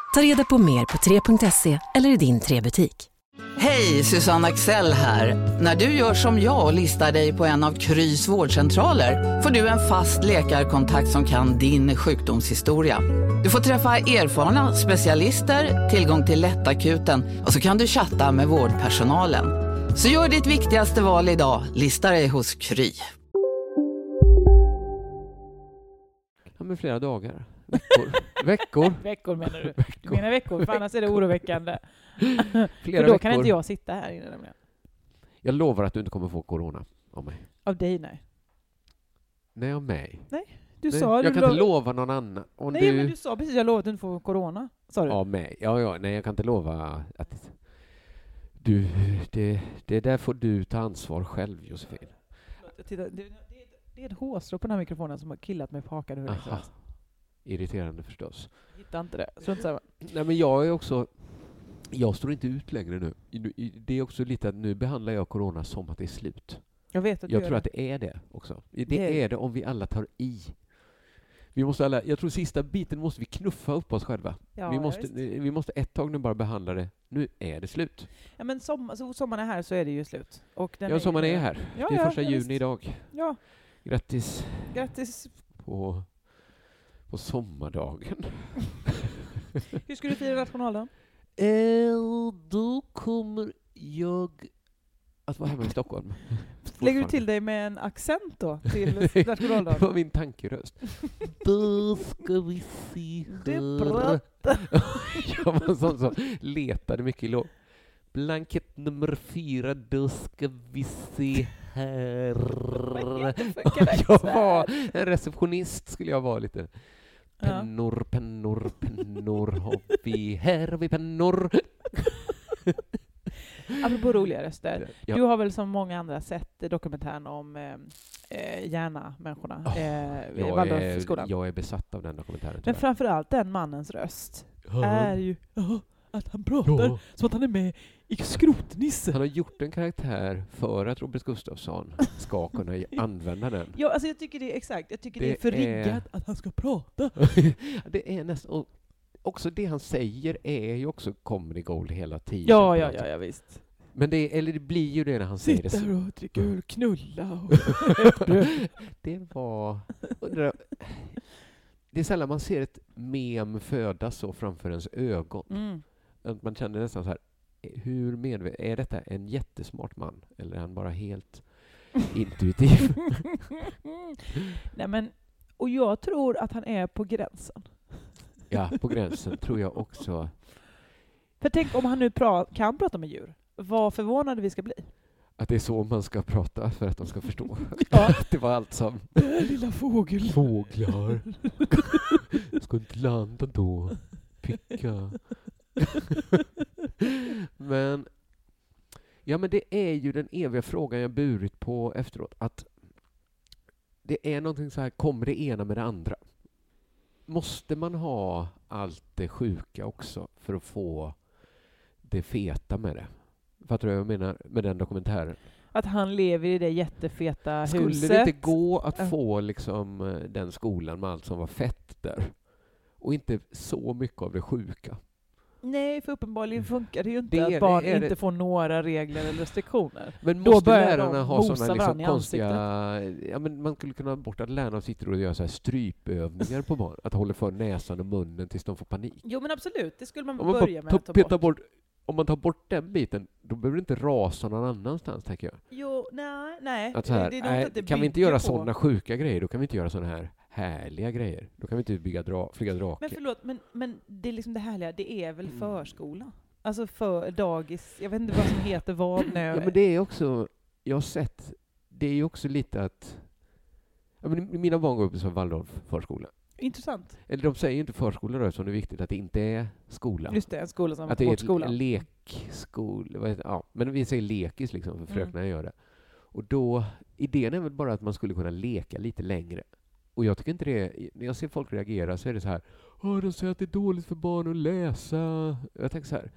Ta reda på mer på 3.se eller i din 3-butik. Hej, Susanne Axel här. När du gör som jag och listar dig på en av Krys vårdcentraler får du en fast läkarkontakt som kan din sjukdomshistoria. Du får träffa erfarna specialister, tillgång till lättakuten och så kan du chatta med vårdpersonalen. Så gör ditt viktigaste val idag, listar dig hos Kry. Ja, men flera dagar, veckor, veckor, Veckor menar du? Du veckor, menar veckor, för annars är det oroväckande. flera För då veckor. kan inte jag sitta här inne nämligen. Jag lovar att du inte kommer få corona av mig. Av dig, nej. Nej, av mig. Du nej, sa... jag du kan inte lova någon annan. Om Nej, du... men du sa precis, jag lovade att du inte får corona. Sa du? Av mig? Ja, ja, nej, jag kan inte lova att... Du, det, det där får du ta ansvar själv, Josefin. Förlåt, jag tittar. Det, det, det är ett hårstrå på den här mikrofonen som har killat mig på hakan hur länge som Aha. helst. Irriterande förstås. Jag Hittar inte det. Strunt samma. Nej, men jag är också... Jag står inte ut längre nu. I- i- Det är också lite att nu behandlar jag corona som att det är slut. Jag vet att du Jag gör tror att det. det är det också. Det, Det- är det om vi alla tar i. Vi måste alla, jag tror sista biten måste vi knuffa upp oss själva. Ja, vi, ja, måste, eh, visst. vi måste ett tag nu bara behandla det. Nu är det slut. Ja, men sommar, så sommaren är här så är det ju slut. Och den Ja, som man ju- är här. Ja, det är ja, första ja, juni visst. idag. Ja, Grattis grattis. på, på sommardagen. Hur ska du fira nationaldagen? Eh, då kommer jag att vara hemma i Stockholm. Lägger du Fortfarande. till dig med en accent då till Det nationaldagen? var min tankeröst. Då ska vi se Det är här. Jag var en sån som letade mycket i låg. Blankett nummer fyra, då ska vi se här. Jag var en receptionist skulle jag vara lite. Ja. Pennor, pennor, pennor har vi. Här har vi pennor. Apropå roliga röster. Ja. Du har väl som många andra sett dokumentären om eh, eh, Järna-människorna, Oh, eh, Jag är, Waldorfskolan. jag är besatt av den dokumentären Men tyvärr. framförallt den mannens röst är ju "Ja, att han pratar Ja. som att han är med i Skrotnisse. Han har gjort en karaktär för att Robert Gustafsson ska kunna i- använda den. Ja, alltså jag tycker det är exakt. Jag tycker det, Det är för är- riggat att han ska prata. det är nästan... Och också det han säger är ju också comedy gold hela tiden. Ja, ja, ja, ja visst. Men det, eller det blir ju det när han säger det. Sitta så- här och dricka öl, knulla och... det var... Undrar, det är sällan man ser ett mem födas så framför ens ögon. Mm. Att man känner nästan så här, hur medveten... Är detta en jättesmart man? Eller är han bara helt intuitiv? Nej men, och jag tror att han är på gränsen. ja, på gränsen tror jag också. För tänk om han nu pra- kan prata med djur. Vad förvånade vi ska bli. Att det är så man ska prata för att de ska förstå. Ja. Att det var allt som... Lilla fågel. Fåglar. Ska inte landa då. Picka. men, ja, men det är ju den eviga frågan jag burit på efteråt. Att det är någonting så här, kommer det ena med det andra? Måste man ha allt det sjuka också för att få det feta med det? Fattar du vad jag menar med den dokumentären? Att han lever i det jättefeta Skulle huset. det inte gå att Ja. få liksom, eh, den skolan med allt som var fett där? Och inte så mycket av det sjuka. Nej, för uppenbarligen funkar Mm. det ju inte Det är- att barn är det- inte får några regler eller restriktioner. Men Då måste börjar lärarna de ha bosa sådana liksom varandra i konstiga... Ja, men man skulle kunna ha bort att lärarna sitter och gör så här strypövningar på barn. Att hålla för näsan och munnen tills de får panik. Jo men absolut, det skulle man, Om man, börja bara med ta, att ta bort. petar bort, om man tar bort den biten, då behöver det inte rasa någon annanstans, tänker jag. Jo, nej, nej. Att så här, det är nog nej, att det kan vi inte bygger göra på- sådana sjuka grejer, då kan vi inte göra sådana här härliga grejer. Då kan vi inte bygga dra, flyga drake. Men förlåt, men, men det är liksom det härliga, det är väl Mm. förskola? Alltså för dagis, jag vet inte vad som heter vad nu. Ja, men det är också, jag har sett, det är ju också lite att, ja, men mina barn går upp som Waldorf förskola. Intressant. Eller de säger ju inte förskola då, eftersom det är viktigt att det inte är skola. Just det, en skola som att det är ett vårdskola. le- lekskola, vad heter, ja, men vi säger lekis liksom, för Mm. fröknarna gör det. Och då, idén är väl bara att man skulle kunna leka lite längre. Och jag tycker inte det, när jag ser folk reagera så är det så här, Åh, de säger att det är dåligt för barn att läsa. Jag tänker så här,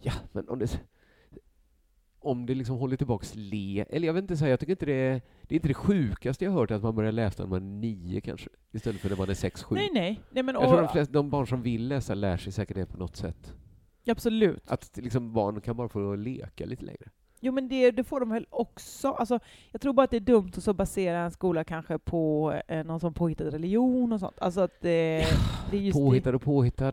ja, men om det, om det liksom håller tillbaks le, eller jag vet inte, så här, jag tycker inte det, det är inte det sjukaste jag har hört att man börjar läsa när man är nio kanske, istället för när man är sex, sju. Nej, nej. nej men, Jag tror de, och, flesta, de barn som vill läsa lär sig säkert det på något sätt. absolut. Att liksom barn kan bara få leka lite längre. Jo men det, det får de väl också. Alltså, jag tror bara att det är dumt att så basera en skola kanske på eh, någon som påhittad religion och sånt. Alltså att eh, det är just Påhittad och påhittad.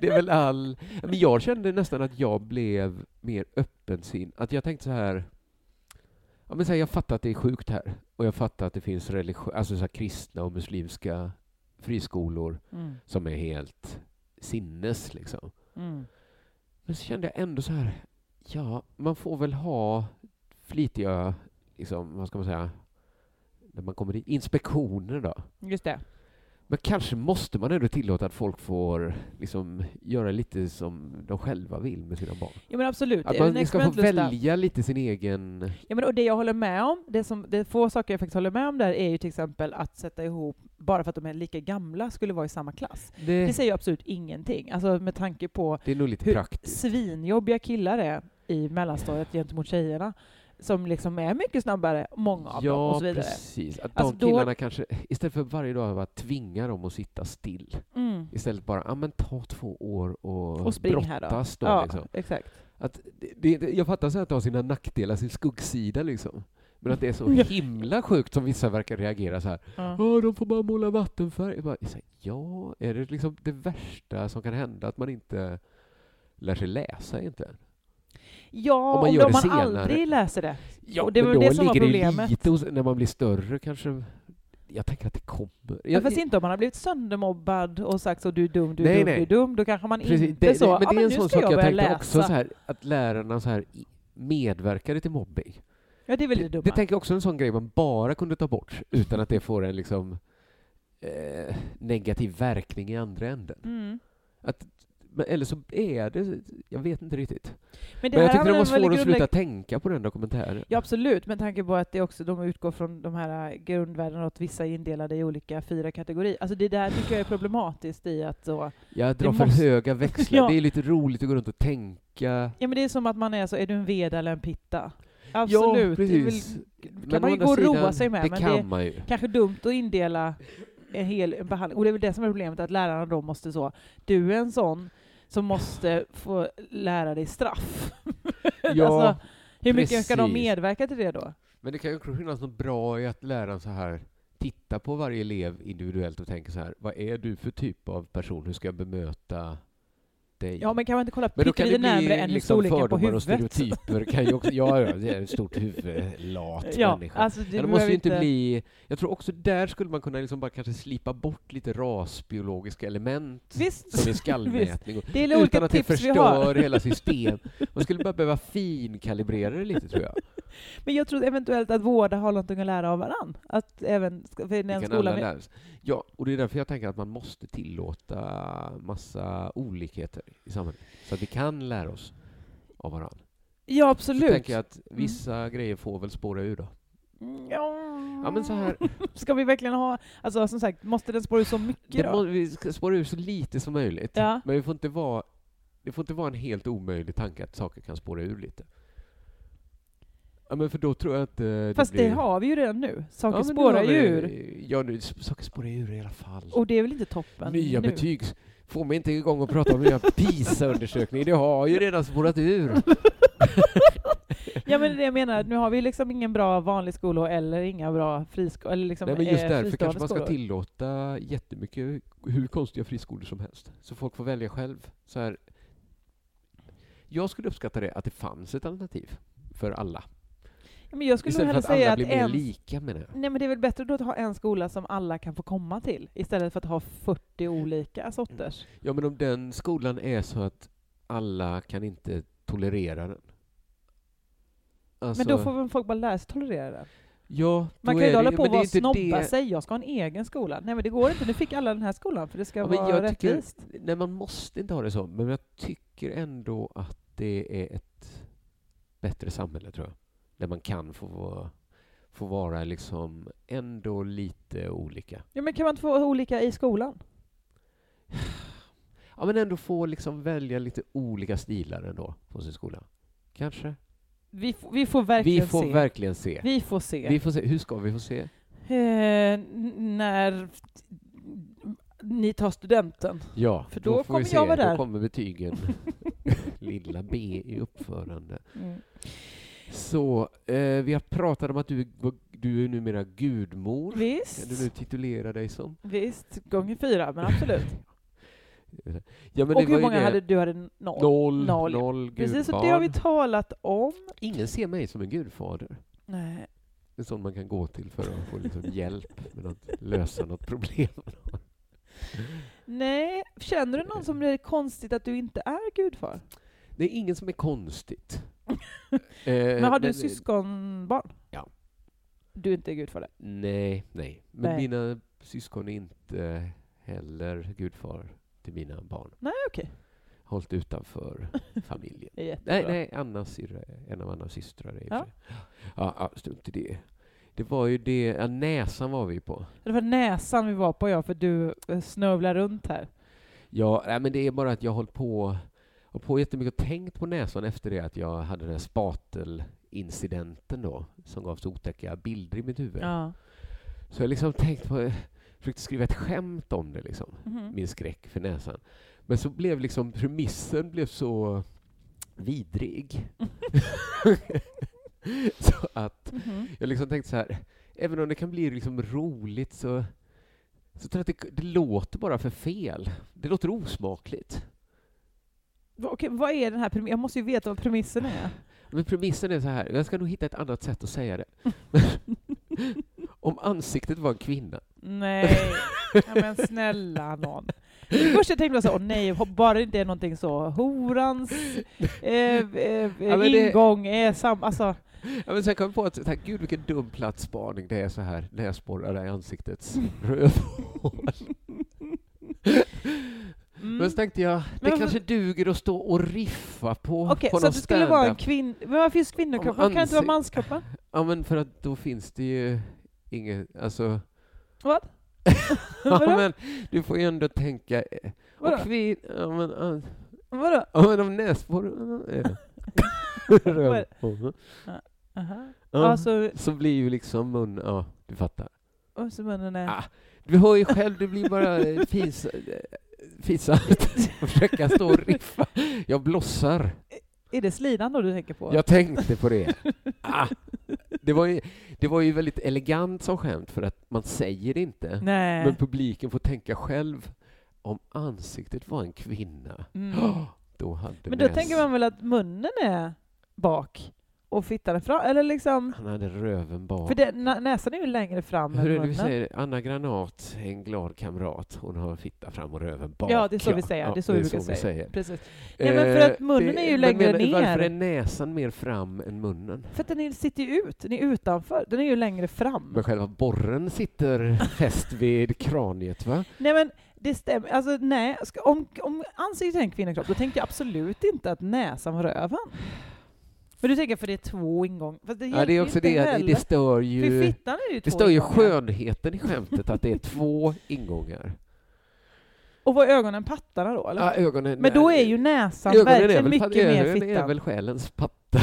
det är väl all... Men jag kände nästan att jag blev mer öppensin. Att jag tänkte så här... Ja, men så här jag fattar att det är sjukt här. Och jag fattar att det finns religi- alltså så här kristna och muslimska friskolor det. Mm, som är helt sinnes liksom. mm. Men så kände jag ändå så här, ja, man får väl ha flitiga, liksom, vad ska man säga, när man kommer dit, inspektioner då. Just det. Men kanske måste man ändå tillåta att folk får liksom, göra lite som de själva vill med sina barn. Jo men absolut. Att Det är en man ska få experimentlusta. välja lite sin egen... Ja, men och det jag håller med om, det, som, det få saker jag faktiskt håller med om där är ju till exempel att sätta ihop, bara för att de är lika gamla, skulle vara i samma klass. Det Det, säger ju absolut ingenting. Alltså med tanke på det är nog lite hur praktiskt. svinjobbiga killar är i mellanstadiet gentemot tjejerna, som liksom är mycket snabbare, många av dem och Ja, så vidare. precis. Att de Alltså, då- killarna kanske, istället för varje dag att tvinga dem att sitta still, Mm. istället bara, ah, men ta två år och, Och spring här då. brottas då. ja, liksom. exakt. Att det, det, det- jag fattar så att det har sina nackdelar, sin skuggsida liksom. Men att det är så Ja. himla sjukt som vissa verkar reagera så här. Ja. Ja, de får bara måla vattenfärg. Jag bara, så här, ja, är det liksom det värsta som kan hända att man inte lär sig läsa egentligen? Ja, Om man om man, gör det man senare. aldrig läser det. Ja, Och det var men då det som var ligger det ju problemet. lite hos, när man blir större kanske. Jag tänker att det kommer. Ja, Jag, fast inte om man har blivit söndermobbad och sagt så du är dum, du är Nej, dum, nej. du är dum, då kanske man precis, inte det, så, det, men "Ja, det är en nu sån ska sak jag, börja tänkte läsa. också så här, att lärarna så här i- medverkade till mobbing. Ja, det är väl det Det, dumma. det tänker jag också är en sån grej man bara kunde ta bort utan att det får en liksom, eh, negativ verkning i andra änden. Mm. Men, eller så är det... Jag vet inte riktigt. Men det Men jag här tyckte det handlar var om svårt att väldigt sluta grundlägg- tänka på den dokumentären. Ja, absolut, med tanke på att det också, de utgår från de här eh, grundvärdena och att vissa är indelade i olika fyra kategorier. Alltså det där tycker jag är problematiskt i att så... Jag drar det för måste- höga växlar. Ja. Det är lite roligt att gå runt och tänka. Ja men det är som att man är så, är du en veda eller en pitta? Ja, Absolut. det är precis. väl Men man å ju andra gå och roa sidan, sig med, Det men kan det- man ju. kanske dumt att indela en hel en behandling. Och det är väl det som är problemet, att lärarna då måste så, du är en sån som måste få lära dig straff. Ja, alltså, hur mycket ska de precis. medverka till det då? Men det kan ju också finnas något bra i att läraren så här titta på varje elev individuellt och tänka så här, vad är du för typ av person? Hur ska jag bemöta dig. Ja, men kan man inte kolla Men då kan det pyttelite närmre bli än liksom storleken på fördomar och huvudet? stereotyper. Kan ju också, ja, ja, det är ett stort huvud, lat Ja, människa. alltså du Men det måste behöver ju inte bli... Jag tror också där skulle man kunna liksom bara kanske slipa bort lite rasbiologiska element Visst, som i skallmätning. och- det är Utan olika att det tips vi har. förstör hela system. Man skulle bara behöva finkalibrera det lite, tror jag. Men jag tror eventuellt att vårda har någonting att lära av varann. Att även ska- för när Det en kan skola alla med, lära sig. Ja, och det är därför jag tänker att man måste tillåta massa olikheter i samhället. Så att vi kan lära oss av varandra. Ja, Så absolut. Mm. tänker jag att vissa grejer får väl spåra ur då. Ja. Ja, men så här, Mm. Ska vi verkligen ha... Alltså som sagt, måste den spåra ut så mycket det då? må, vi ska spåra ur så lite som möjligt. Ja. Men vi får inte vara, det får inte vara en helt omöjlig tanke att saker kan spåra ur lite. Ja, men för då tror jag att eh, det Fast blir... det har vi ju redan nu. Saker ja, men nu har spårar ju vi- ur. Ja, nu, saker spårar ur i alla fall. Och det är väl inte toppen Nya nu? betyg. Få mig inte igång och prata om nya PISA-undersökningar. Det har ju redan spårat ur. Ja, men det är det jag menar. Nu har vi liksom ingen bra vanlig skola eller inga bra friskolor. Eller liksom, Nej, men just eh, därför kanske fristående man ska skolor. tillåta jättemycket hur konstiga friskolor som helst. Så folk får välja själv. Så här. Jag skulle uppskatta det, att det fanns ett alternativ för alla. Ja, men jag skulle nog Istället för hellre att säga alla att blir mer en... lika, menar jag. Nej, men det är väl bättre då att ha en skola som alla kan få komma till istället för att ha 40 olika sorters. Ja, men om den skolan är så att alla kan inte tolerera den. Alltså, Men då får väl folk bara lära sig tolerera det. ja, då Man kan ju är inte det- hålla men på och det är bara inte snobba det- sig. Jag ska ha en egen skola. Nej, men det går inte. Nu fick alla den här skolan för det ska Ja, men vara jag tycker- rättvist. Nej, man måste inte ha det så, men jag tycker ändå att det är ett bättre samhälle, tror jag. Där man kan få, vara- få vara liksom ändå lite olika. Ja, men kan man inte få ha olika i skolan? Ja, men ändå få liksom välja lite olika stilar ändå på sin skola. Kanske. Vi, f- vi får verkligen vi får se. verkligen se. vi får se. Vi får se. Hur ska vi få se? Eh, n- när ni tar studenten. Ja, För då får vi kommer se. jag vara där. Då kommer betygen. Lilla B i uppförande. Så, eh, vi har pratat om att du, du är numera gudmor. Kan Visst. du nu titulera dig som? Visst. Gånger fyra, men absolut. Ja, men och det var hur ju många det. hade du? Hade noll. Noll, Noll, noll, ja. noll Precis, och gudbarn. det har vi talat om. Ingen ser mig som en gudfader. Nej. En sån man kan gå till för att få liksom hjälp med att lösa något problem. Nej. Känner du någon som det är konstigt att du inte är gudfar? Det är ingen som är konstigt. Eh, Men har du syskonbarn? Ja. Du är inte gudfar där? Nej, nej. Men Nej. mina syskon är inte heller gudfar till mina barn. Nej, okej. Hållit utanför familjen. Det är jättebra. Nej, nej, Annas syrra, är- en av Annas systrar är i och för Ja. sig. Ja, ja, strunt i det. Det var ju det, ja, näsan var vi på. Det var näsan vi var på, ja, för du eh, snövlar runt här. Ja, nej, men det är bara att jag har hållit på, hållit på jättemycket och tänkt på näsan efter det att jag hade den här spatelincidenten då, som gav så otäcka bilder i mitt huvud. Ja. Så jag har liksom tänkt på, försökte skriva ett skämt om det liksom. Mhm. min skräck för näsan. Men så blev liksom premissen blev så vidrig. så att Mhm. jag liksom tänkte så här, även om det kan bli liksom roligt så, så tror jag att det, det låter bara för fel. Det låter osmakligt. Va- Okej, vad är den här premissen? Jag måste ju veta vad premissen är. Men premissen är så här, jag ska nog hitta ett annat sätt att säga det. Om ansiktet var en kvinna. Nej, ja, men snälla någon. Först jag tänkte jag så här, åh nej, hopp- bara det inte är någonting så, horans eh, eh, Ja, men det- ingång är samma, alltså, Ja, men sen kom jag på att, tack gud vilken dum platsspaning det är så här, näsborrar i ansiktets rövhål. mm. Men så tänkte jag, det Men varför- kanske duger att stå och riffa på, Okej, på så någon att det skulle vara en stand-up. kvinna, men varför just kvinnokroppen? Om Kan det inte vara ansi- manskroppen? Ja, men för att då finns det ju inget, alltså... Vad? ja, Vadå? men du får ju ändå tänka... eh, Vadå? Och kvin... Ja, men, ah, Vadå? ja, men om näsborren... eh, röv- Aha. Ja, Alltså, så blir ju liksom mun... Ja, du fattar. och så munnen är... Ah. Du hör ju själv, du blir bara eh, fis... eh, Fisant. Försöka stå och riffa. Jag blossar. Är det slidan då du tänker på? Jag tänkte på det. Ah, det, var ju, det var ju väldigt elegant som skämt, för att man säger det inte. Nej. Men publiken får tänka själv om ansiktet var en kvinna, Mm. då hade Men då näs- tänker man väl att munnen är bak och fittan är fram? Eller liksom, Han hade röven bak. för det, nä- näsan är ju längre fram Hur är det än vi munnen. säger? Anna Granat, en glad kamrat. Hon har fitta fram och röven bak. Ja, det är så vi säger. Det är så vi brukar säga. Precis. Ja, men för Eh, att munnen är ju men längre menar- Varför ner. är näsan mer fram än munnen? För att den är- sitter ju ut, den är utanför, den är ju längre fram. Men själva borren sitter fäst vid kraniet, va? Nej men det stämmer, alltså nej, ska, om, om ansiktet är en kvinnokropp då tänker jag absolut inte att näsan var röven. Men du tänker för det är två ingångar, fast det Ja, hjälper det ju är också inte det att heller. det stör för ju... fittan är ju två Det stör ju ingångar. skönheten i skämtet att det är två ingångar. Och var ögonen pattarna då eller? Ja, ögonen, men då är ju näsan verkligen mycket mer ögonen är fittan. väl själens patta.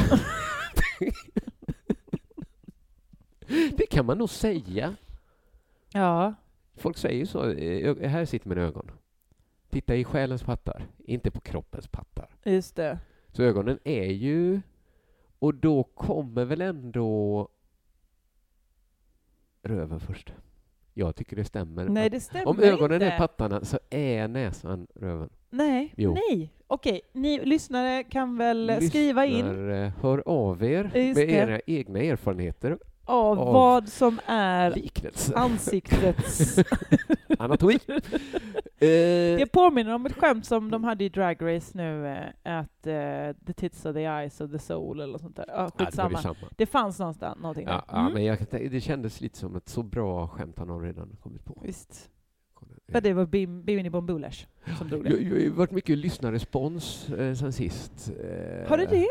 det kan man nog säga. Ja. Folk säger ju så. eh, ö- Här sitter mina ögon. Titta i själens pattar, inte på kroppens pattar. Just det. Så ögonen är ju... Och då kommer väl ändå röven först. Jag tycker det stämmer. Nej, att det stämmer Om ögonen inte. är pattarna så är näsan röven. Nej, Jo. nej. Okej, ni lyssnare kan väl skriva in Lyssnare, Hör av er Just med det. era egna erfarenheter. av av- vad som är Liknelser. ansiktets... Anatomi. Det Eh, påminner om ett skämt som de hade i Drag Race nu, eh, att eh, the tits are the eyes of the soul eller något sånt där. Ja, ja, det var skitsamma. det, detsamma. fanns någonstans, någonting Ja, där. ja, Mm. men jag, kan tänka- det kändes lite som ett så bra skämt han har redan kommit på. Visst. Ja, det var Bim- Bimini Bombulesh som drog Jag, det. jag har ju varit mycket lyssnarrespons eh, sen sist. Eh, Har du det?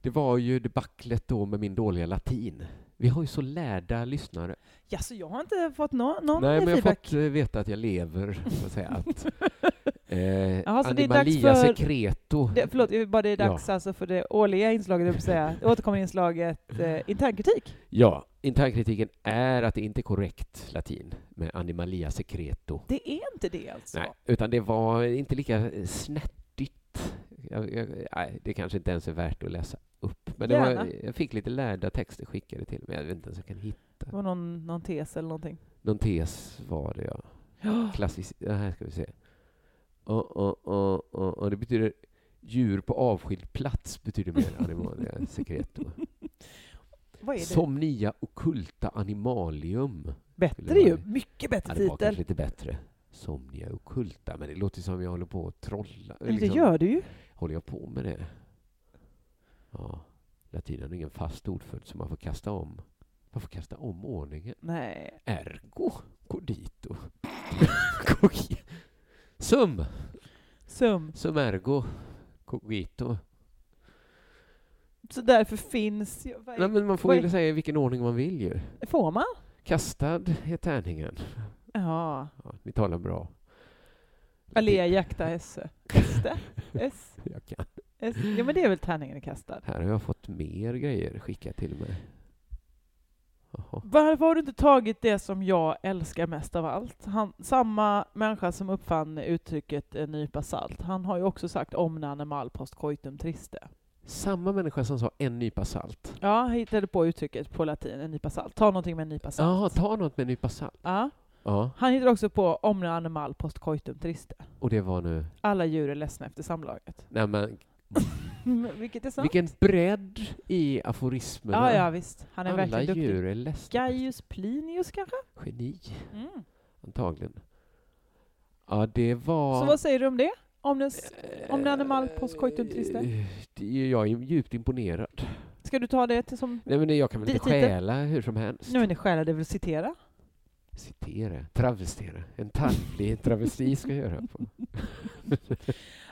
Det var ju debaclet då med min dåliga latin. Vi har ju så lärda lyssnare. Ja, så jag har inte fått nå- någon Nej, men jag har feedback. fått eh, veta att jag lever, så att säga. Att, eh, Jaha, så det är dags Maria för- Secreto. Det, förlåt, jag vill bara det är dags alltså för det årliga inslaget, jag vill säga. Det återkommande inslaget eh, internkritik. Ja, internkritiken är att det inte är korrekt latin med animalia secreto. Det är inte det alltså. Nej, utan det var inte lika eh, snärtigt. Jag, jag, nej, det kanske inte ens är värt att läsa upp. Men det var, Gärna. jag fick lite lärda texter skickade till mig. Jag vet inte ens om jag kan hitta. Det var någon, någon tes eller någonting. Någon tes var det, ja. Ja. Klassisk, ja, här ska vi se. Och, och, och, och, och det betyder djur på avskild plats betyder mer animalia secreto. Vad är det? Somnia occulta animalium. bättre ju. Mycket Ja, bättre det var kanske titel. lite bättre. Somnia occulta, men det låter som jag håller på att trolla. liksom. Men Det gör du ju. Håller jag på med det? Ja, latinen är ingen fast ordföljd så man får kasta om. Man får kasta om ordningen. Nej. Ergo, codito. Cogi- Sum, Sum. sum ergo, cogito. Så därför finns... jag- vad är- Nej, men man får vad ju säga i vilken ordning man vill ju. är- Får man? Kastad är tärningen. Ja. Ja, ni talar bra. Alea jakta esse. Este? S? Jag kan. S? Ja men det är väl tärningen är kastad. Här har jag fått mer grejer skickat till mig. Jaha. Varför har du inte tagit det som jag älskar mest av allt? Han, samma människa som uppfann uttrycket en nypa salt, han har ju också sagt omnane mal post coitum triste. Samma människa som sa en nypa salt. Ja, han hittade på uttrycket på latin, en nypa salt. Ta någonting med en nypa salt. Jaha, ta något med en nypa salt. Ja. Ja, Han hittade också på omnane mal post coitum triste. och det var nu... Alla djur är ledsna efter samlaget. Nej, men, Mm, Vilket är sant. vilken bredd i aforismerna. Ja, ja, visst. Han är Alla verkligen duktig. djur är ledsna. Gaius Plinius kanske? Geni, Mm. antagligen. Ja, det var... Så vad säger du om det? Om den, s- om den animal post coitum triste? Eh, det- Jag är djupt imponerad. Ska du ta det till som... Nej, men jag kan väl inte Dit, dit. stjäla hur som helst. Nu är ni själar, det vill citera. Citera, travestera. En tarvlig travesti ska jag göra. På.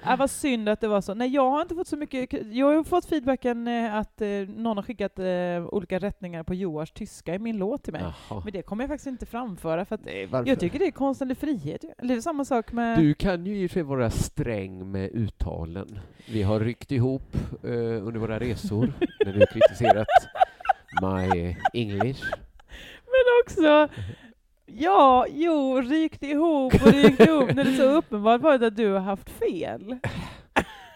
Äh, vad synd att det var så. Nej, jag har inte fått så mycket... k- Jag har ju fått feedbacken eh, att eh, någon har skickat eh, olika rättningar på Joars tyska i min låt till mig. Jaha. Men det kommer jag faktiskt inte framföra, för att Nej, varför? jag tycker det är konstnärlig frihet. ju. Eller samma sak med... Du kan ju i och för sig vara sträng med uttalen. Vi har ryckt ihop eh, under våra resor när du kritiserat my English. Men också, ja, jo, rykt ihop och rykt ihop när det så uppenbart varit att du har haft fel.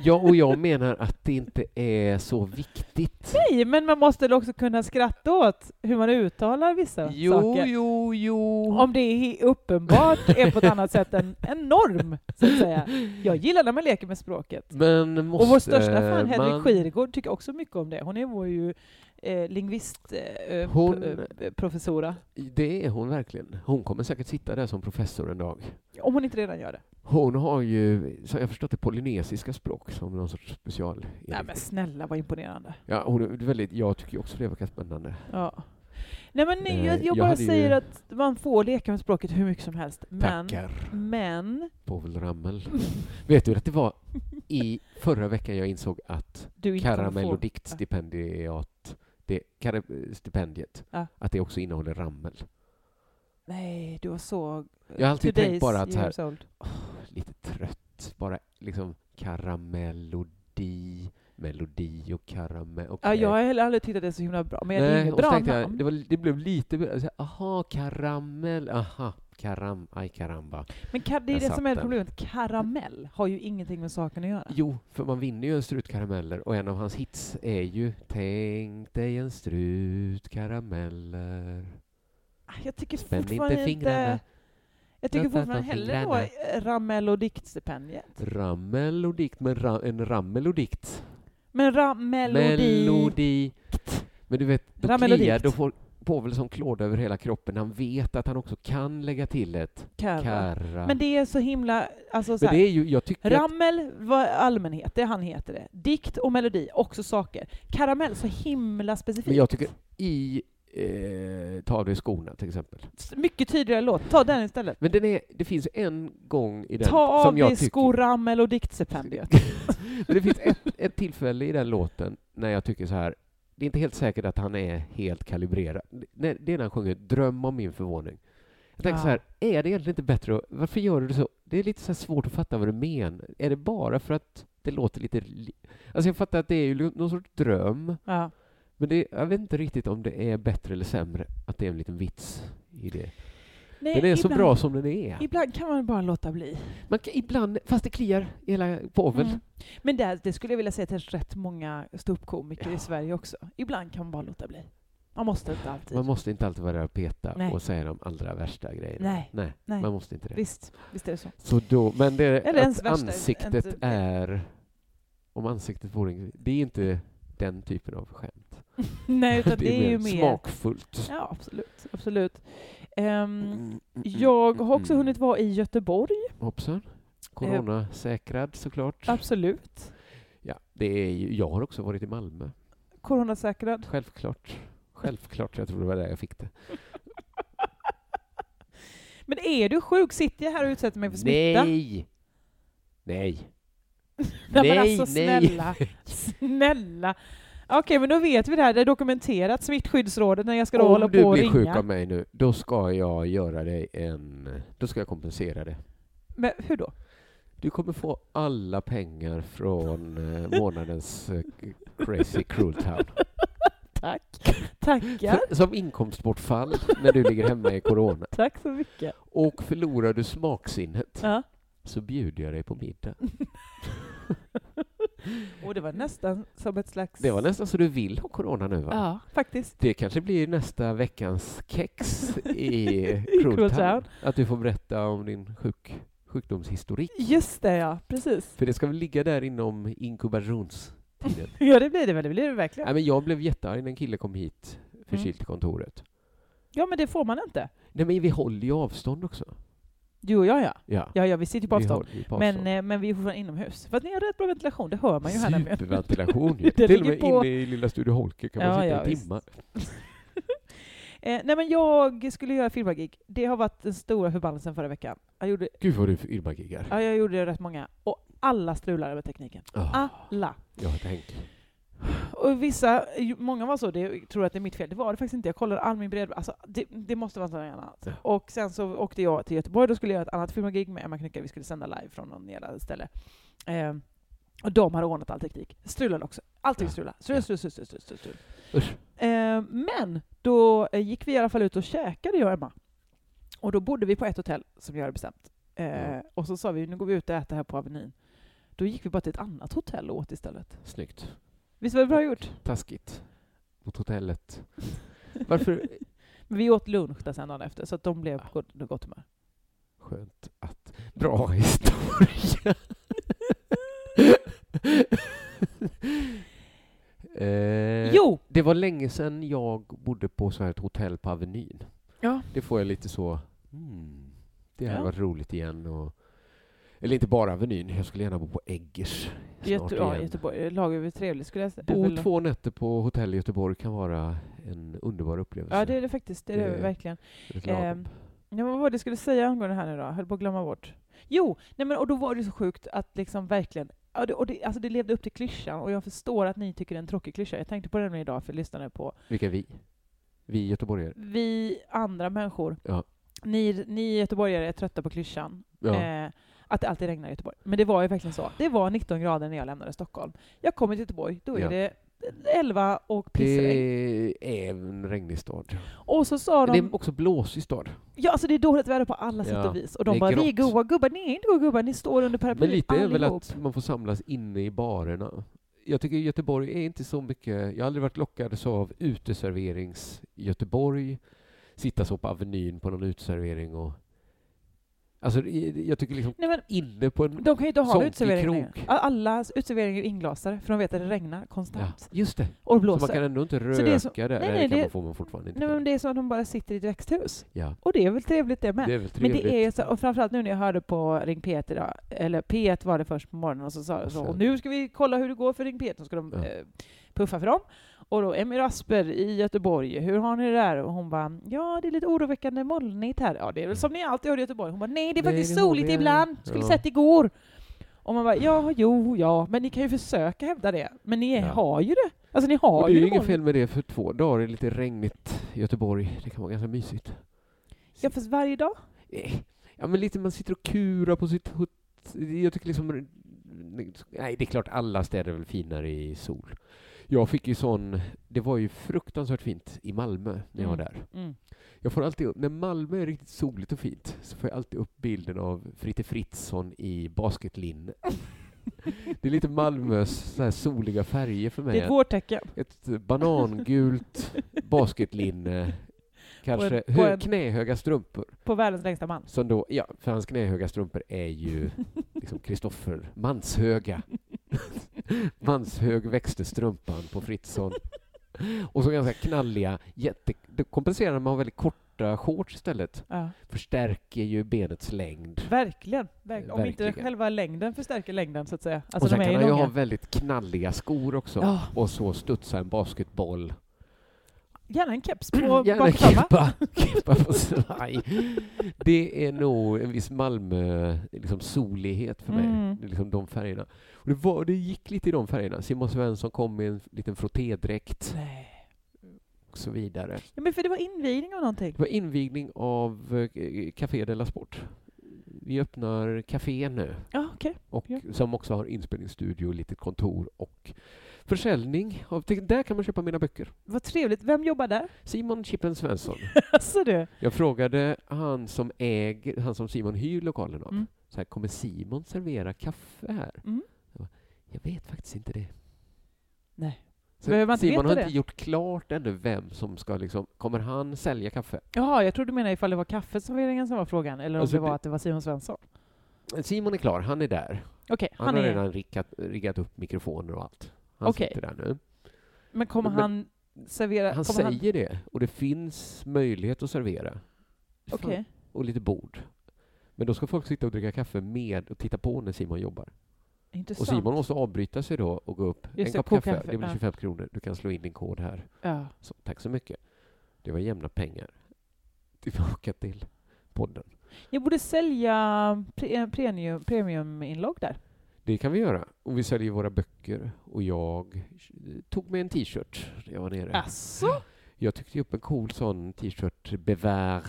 Ja, och jag menar att det inte är så viktigt. Nej, men man måste väl också kunna skratta åt hur man uttalar vissa Jo, saker. jo, jo. Om det är he- uppenbart är på ett annat sätt än en norm, så att säga. Jag gillar när man leker med språket. Men måste och vår största fan, Henrik man... Skirgård, tycker också mycket om det. Hon är vår ju eh, lingvist, eh, Hon- pro- eh, professora. Det är hon verkligen. Hon kommer säkert sitta där som professor en dag. Om hon inte redan gör det. Hon har ju, som jag förstått det, polynesiska språk som någon sorts special. Nej men snälla vad imponerande. Ja, hon är väldigt, jag tycker ju också det verkar spännande. Ja. Nej men Eh, jag, jag jag bara hade ju- säger att man får leka med språket hur mycket som helst. Men, Tackar, men Povel Ramel. Vet du att det var i förra veckan jag insåg att du inte kommer Karamell få- och diktstipendiat, det, kara- stipendiet, Ja. att det också innehåller rammel. Nej, du var så... Jag har alltid tänkt Today's bara att så här- years old. Lite trött, bara liksom karamellodi, melodi och karamell. Ja, okej. jag har heller aldrig tyckt att det är så himla bra, men det är Eh. Nej, inget och så bra namn. tänkte jag, det, var, det blev lite... så här, Aha, karamell. Aha, karam... Aj, karamba. Men ka- det är Jag det satt som är den. problemet. Karamell har ju ingenting med saken att göra. Jo, för man vinner ju en strut karameller och en av hans hits är ju Tänk dig en strut karameller. Ah, Jag tycker Spänn fortfarande inte fingrarna. Jag tycker Låt fortfarande nästan hellre då eh, Ramel och diktstipendiet. Rammel och dikt, men ra, en rammel och dikt. Men Ramelodi... Melodi. Men du vet, då Rammel och kliar dikt. då får Povel som klåda över hela kroppen. Han vet att han också kan lägga till ett Karra. karra. Men det är så himla... Alltså så Men här, det är ju, jag tycker att Rammel var allmänhet, det han heter det. Dikt och melodi, också saker. Karamell, så himla specifikt. Men jag tycker i eh, Ta av dig skorna till exempel. S- Mycket tydligare låt. Ta den istället. Men den är, det finns en gång i den Ta av som jag dig tycker... skor, Rammel och diktstipendiet. Men det finns ett, ett tillfälle i den låten när jag tycker så här. Det är inte helt säkert att han är helt kalibrerad. Det det är när han sjunger Dröm om min förvåning. Jag tänker Ja. så här, är det egentligen inte bättre att, Varför gör du det så? Det är lite så här svårt att fatta vad du menar. Är det bara för att det låter lite... li- Alltså jag fattar att det är ju någon sorts dröm, Ja. men det, jag vet inte riktigt om det är bättre eller sämre att det är en liten vits i det. Nej, Den är så ibland- bra som den är. Ibland kan man bara låta bli. Man kan, ibland, fast det kliar i hela povel. Mm. Men det, det skulle jag vilja säga till rätt många ståuppkomiker i Sverige också. Ibland kan man bara låta bli. Man måste inte alltid. Man måste inte alltid vara där och peta Nej. och säga de allra värsta grejerna. Nej, Nej, nej. man måste inte det. Visst, visst är det så. Så då, men det Eller ens att värsta, ansiktet ens- är... Om ansiktet vore en, Det är inte den typen av skämt. Nej, utan det är ju mer... smakfullt. Ja, absolut. absolut. Ehm, Mm, mm, jag har också mm. hunnit Eh. vara i Göteborg. Hoppsan. Coronasäkrad såklart. Absolut. Ja, det är ju, jag har också varit i Malmö. Coronasäkrad. Självklart. Självklart, jag tror det var där jag fick det. Men är du sjuk? Sitter jag här och utsätter mig för smitta? Nej! Nej. Nej, men alltså snälla. Snälla. Okej, men då vet vi det här. Det är dokumenterat. Smittskyddsrådet, när jag ska då hålla Om du på och blir sjuk ringa. av mig nu, då ska jag göra dig en... Då ska jag kompensera det. Men hur då? Du kommer få alla pengar från eh, månadens eh, Crazy Cruel Town. Tack. Tackar. För, som inkomstbortfall när du ligger hemma i corona. Tack så mycket. Och förlorar du smaksinnet Ja. så bjuder jag dig på middag. Och det var nästan som ett slags... Det var nästan så du vill ha corona nu va? Ja, faktiskt. Det kanske blir nästa veckans kex i Cruel Cruel Town. Town. Att du får berätta om din sjuk, sjukdomshistorik. Just det, ja. Precis. För det ska väl ligga där inom inkubationstiden. Ja, det blir det väl. Det blir det verkligen. Nej, men jag blev jättearg när en kille kom hit Mm. förkyld till kontoret. Ja, men det får man inte. Nej, men vi håller ju avstånd också. Du och jag, ja. Ja, Ja, ja, vi sitter ju på vi avstånd. håller ju på Men, avstånd. eh, men vi är fortfarande inomhus. Fast ni har rätt bra ventilation, det hör man ju här nämligen. Superventilation ju. Det Till och ligger med på- inne i lilla Studio Holke kan man Ja, sitta ja, i visst. timmar. Eh, nej men jag skulle göra firmagig. Det har varit den stora förbannelsen förra veckan. Jag gjorde, Gud vad du yrmagiggar. ja, jag gjorde rätt många. Och alla strulade med tekniken. Ah, Alla. jag har tänkt. Och vissa, ju- många var så, det, tror att det är mitt fel. Det var det faktiskt inte. Jag kollade all min bredband. Alltså, det, det måste vara något annat. Ja. Och sen så åkte jag till Göteborg, då skulle jag göra ett annat firmagig med Emma Knyckare. Vi skulle sända live från någon jävla ställe. Eh, och de hade ordnat all teknik. Strulade också. Allting Ja. strulade. Strul, Ja. strul, strul, strul, strul, strul, strul. Usch. Eh, men då eh, gick vi i alla fall ut och käkade, jag och Emma. Och då bodde vi på ett hotell, som jag hade bestämt. Eh, Mm. Och så sa vi, nu går vi ut och äter här på Avenyn. Då gick vi bara till ett annat hotell och åt istället. Snyggt. Visst var det bra gjort? Taskigt. Mot hotellet. Varför? Men vi åt lunch där sen dagen efter, så att de blev på gott, gott humör. Skönt att... Bra historia! eh, Jo! Det var länge sedan jag bodde på så här ett hotell på Avenyn. Ja. Det får jag lite så... Mm, det här Ja. var roligt igen. Och, eller inte bara Avenyn, jag skulle gärna bo på Eggers snart Göte- ja, igen. Göteborg. Lagövrigt trevligt skulle jag säga. Bo Väl- två nätter på hotell i Göteborg kan vara en underbar upplevelse. Ja, det är det faktiskt. Det är det Det- verkligen. Ett lagom. Ehm, Ja, men vad var det jag skulle säga angående det här nu då? Höll på att glömma bort. Jo, nej men, och då var det så sjukt att liksom verkligen Ja, det, och det, alltså det levde upp till klyschan, och jag förstår att ni tycker det är en tråkig klyscha. Jag tänkte på den idag, för jag lyssnade på Vilka vi? Vi göteborgare. vi andra människor, Ja. ni, ni göteborgare är trötta på klyschan, Ja. eh, att det alltid regnar i Göteborg. Men det var ju verkligen så. Det var 19 grader när jag lämnade Stockholm. Jag kommer till Göteborg, då är Ja. det 11 och pissregn. det är en regnig stad. Och så sa Men de, det är också blåsig stad. ja alltså det är dåligt väder på alla sätt Ja, och vis. Och det de är bara, vi är grått. goa gubbar, ni är inte goa gubbar, ni står under paraply Men lite är väl allihop. att man får samlas inne i barerna. Jag tycker Göteborg är inte så mycket... Jag har aldrig varit lockad så av uteserverings Göteborg. Sitta så på Avenyn på någon uteservering och... Alltså, i- jag tycker liksom Nej, men inne på en... de kan ju inte ha Sånt i uteserveringar längre. krok. All- Alla uteserveringar är inglasade, för de vet att det regnar Ja, konstant. just det. Och Så man blåser. kan ändå inte Så det röka är så- där. Nej, nej, det kan det- man, får man fortfarande inte. Nej, men det är som att de bara sitter i ett växthus. ja, Och det är väl trevligt det med. det är väl Men trevligt. det är ju så, och framförallt nu när jag hörde på Ring P1 idag, eller P1 var det först på morgonen, och så sa de så, sen- och nu ska vi kolla hur det går för Ring P1, då ska de Ja. eh, puffa för dem. Och då Emmy Rasper i Göteborg, hur har ni det där? Och hon bara, ja det är lite oroväckande molnigt här. Ja det är väl som ni alltid har i Göteborg. Hon bara, nej det är Mm. Nej, faktiskt det har vi soligt här." ibland, skulle Ja. sett igår. Och man bara, ja jo ja, men ni kan ju försöka hävda det. Men ni Ja. har ju det. Alltså ni har Och det är ju ju det inget molnigt. fel med det, för två dagar är lite regnigt i Göteborg. Det kan vara ganska mysigt. Ja fast varje dag? Eh, Ja, men lite man sitter och kurar på sitt hot... Jag tycker liksom... Nej, det är klart alla städer är väl finare i sol. Jag fick ju sån... Det var ju fruktansvärt fint i Malmö när jag var Mm. där. Jag får alltid upp, när Malmö är riktigt soligt och fint så får jag alltid upp bilden av Fritte Fritzson i basketlinne. det är lite Malmös så här soliga färger för mig. Det är ett vårtecken. Ett banangult basketlinne, kanske på hö- en- knähöga strumpor. På världens längsta man. Som då, ja, för hans knähöga strumpor är ju liksom Kristoffer manshöga. Manshög växte strumpan på Fritzson. Och så ganska knalliga, jätte, det kompenserar man väldigt korta shorts istället. Ja. Förstärker ju benets längd. Verkligen. Verkligen. Om inte Verkligen. själva längden förstärker längden, så att säga. Alltså, och sen de kan är ju han ju långa. ha väldigt knalliga skor också. Ja, Och så studsa en basketboll. gärna en keps på Gärna bakfamma. kippa, kippa på svaj. Det är nog en viss Malmö, liksom solighet för mig. Mm. Det är liksom de färgerna. Och det, var, det gick lite i de färgerna. Simon Svensson kom i en liten frottédräkt Nej. och så vidare. Ja, men för det var invigning av någonting. Det var invigning av eh, Café de la Sport. Vi öppnar café nu, Ja, okej. och Ja. som också har inspelningsstudio, litet kontor och försäljning. Av, där kan man köpa mina böcker. Vad trevligt. Vem jobbar där? Simon Chippen Svensson. Alltså du. Jag frågade han som äger, han som Simon hyr lokalen av. Mm. Så här, kommer Simon servera kaffe här? Mm. Jag, bara, jag vet faktiskt inte det. Nej. Så Behöver man inte Simon veta har det? inte gjort klart ännu vem som ska liksom, kommer han sälja kaffe? Jaha, jag trodde du menade ifall det var kaffeserveringen som var frågan, eller om Alltså, det var det- att det var Simon Svensson. Simon är klar, han är där. Okej, Han, han har är... redan riggat, riggat upp mikrofoner och allt. Han Okej. sitter där nu. Men kommer Men- han servera... Han kommer säger det, och det finns möjlighet att servera. Han... Okej. Och lite bord. Men då ska folk sitta och dricka kaffe med och titta på när Simon jobbar. Och Intressant. Simon måste avbryta sig då och gå upp. Just en det, kopp koka kaffe, kaffe, det blir ja. 25 kronor. Du kan slå in din kod här. Ja. Så, tack så mycket. Det var jämna pengar. Tillbaka till podden. Jag borde sälja pre- premium, premiuminlogg där. Det kan vi göra. Och vi säljer våra böcker. Och jag eh, tog med en t-shirt när jag var nere. Asså? Jag tyckte upp en cool sån t-shirt, Bevär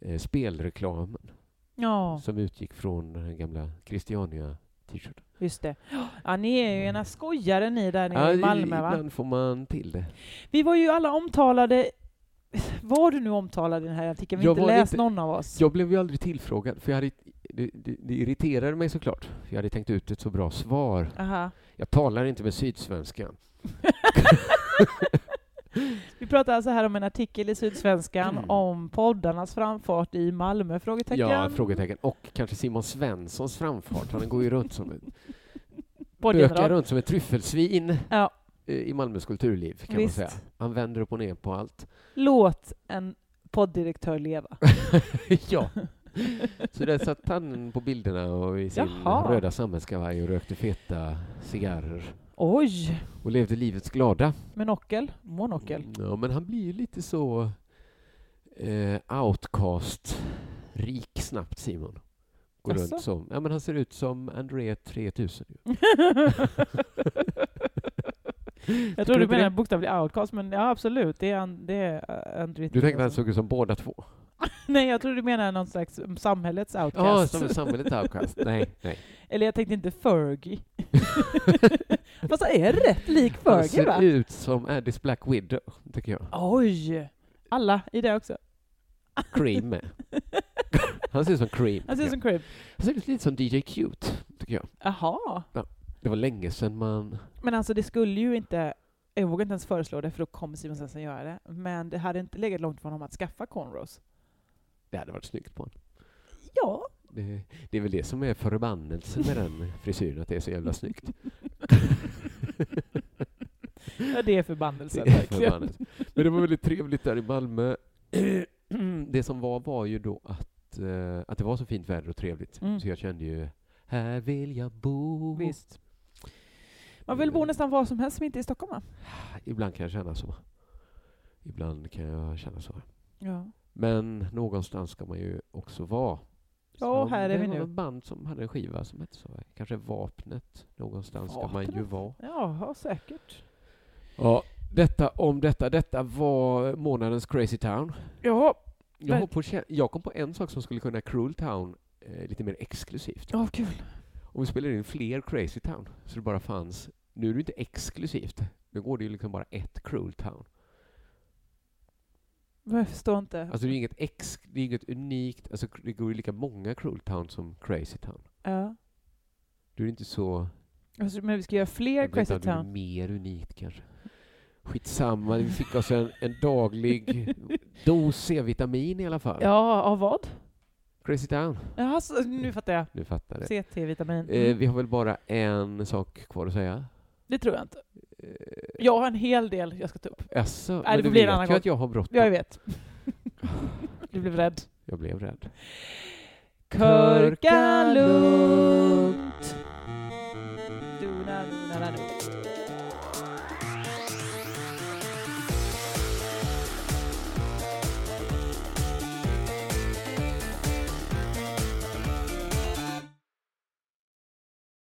eh, spelreklamen, Ja, som utgick från den här gamla Christiania t-shirten. just det. Ja, ni är ju ena skojare ni där nere Ja, i i- Malmö, va? ibland får man till det. Vi var ju alla omtalade... Var du nu omtalad i den här artikeln? Vi Jag har inte var läst inte- någon av oss. Jag blev ju aldrig tillfrågad, för jag hade, det, det, det irriterade mig såklart. för Jag hade tänkt ut ett så bra svar. Aha. Jag talar inte med sydsvenskan. Vi pratar alltså här om en artikel i Sydsvenskan om poddarnas framfart i Malmö? Frågetecken. Mm. Ja, frågetecken. Och kanske Simon Svenssons framfart. Han går ju runt som ett, Poddgeneral. bökar runt som ett tryffelsvin Ja. eh, i Malmös kulturliv, kan Visst. man säga. Han vänder upp och ner på allt. Låt en podddirektör leva. ja. Så där satt han på bilderna och i sin Jaha. röda sammetskavaj och rökte feta cigarrer Oj! och levde livets glada. Monokel. Monokel. Mm, Ja, men han blir ju lite så eh, outcast-rik snabbt, Simon. Går Jaså? runt som, ja, men han ser ut som André 3000. ju. Jag tror du inte menar det? en bokstavlig outcast, men ja absolut, det är en... Det är eh, en Du alltså- tänkte att alltså. han såg ut som båda två? Nej, jag tror du menar någon slags mm, samhällets Ja, outcast. som i samhället outcast. Nej, nej. Eller jag tänkte inte Fergie. Fast han är rätt lik Han Fergie, ser va? ut som Addis Black Widow, tycker jag. Oj! Alla i det också. Cream. Han ser ut som Cream. Han ser ut tycker som Creep. jag. Han ser ut lite som DJ Cute, tycker jag. Jaha. Det var länge sedan man... Men alltså det skulle ju inte, jag vågar inte ens föreslå det för då kommer Simon Svensson göra det, men det hade inte legat långt från honom att skaffa cornrows. Det hade varit snyggt på honom. Ja, Det, det är väl det som är förbannelsen med den frisyren, att det är så jävla snyggt. ja, det är förbannelsen Det är verkligen. förbannat. Men det var väldigt trevligt där i Malmö. Det som var var ju då att, eh, att det var så fint väder och trevligt, Mm. så jag kände ju här vill jag bo. Visst. Man vill bo nästan var som helst som inte är i Stockholm va? Ibland kan jag känna så. Ibland kan jag känna så. Ja. Men någonstans ska man ju också vara. Ja, Så här är vi Det nu. var ett band som hade en skiva som hette så. Kanske Vapnet. Någonstans ska man ju Vapnet? vara. Jaha, säkert. Ja, detta om detta. Detta var månadens Crazy Town. Ja, Jag, har på, kä- jag kom på en sak som skulle kunna Cruel Town eh, lite mer exklusivt. ja kul. Om vi spelar in fler Crazy Town så det bara fanns... Nu är det inte exklusivt. Nu går det ju liksom bara ett Cruel Town. Men jag förstår inte. Alltså det är inget, ex, det är inget unikt. Alltså det går ju lika många Cruel Town som Crazy Town. Ja. Du är inte så... Alltså, men vi ska göra fler Jag vet Crazy inte, det är Town. Mer unikt kanske. Skitsamma, vi fick oss en, en daglig dos C-vitamin i alla fall. Ja, av vad? Crazy Town. Jaha, så, nu fattar jag. Du fattar det. CT-vitamin. Eh, Mm. vi har väl bara en sak kvar att säga. Det tror jag inte. Eh, Jag har en hel del jag ska ta upp. Jaså? det men du får bli en vet annan ju gång. att jag har bråttom. Jag vet. Du blev rädd. jag blev rädd. Körka lugnt.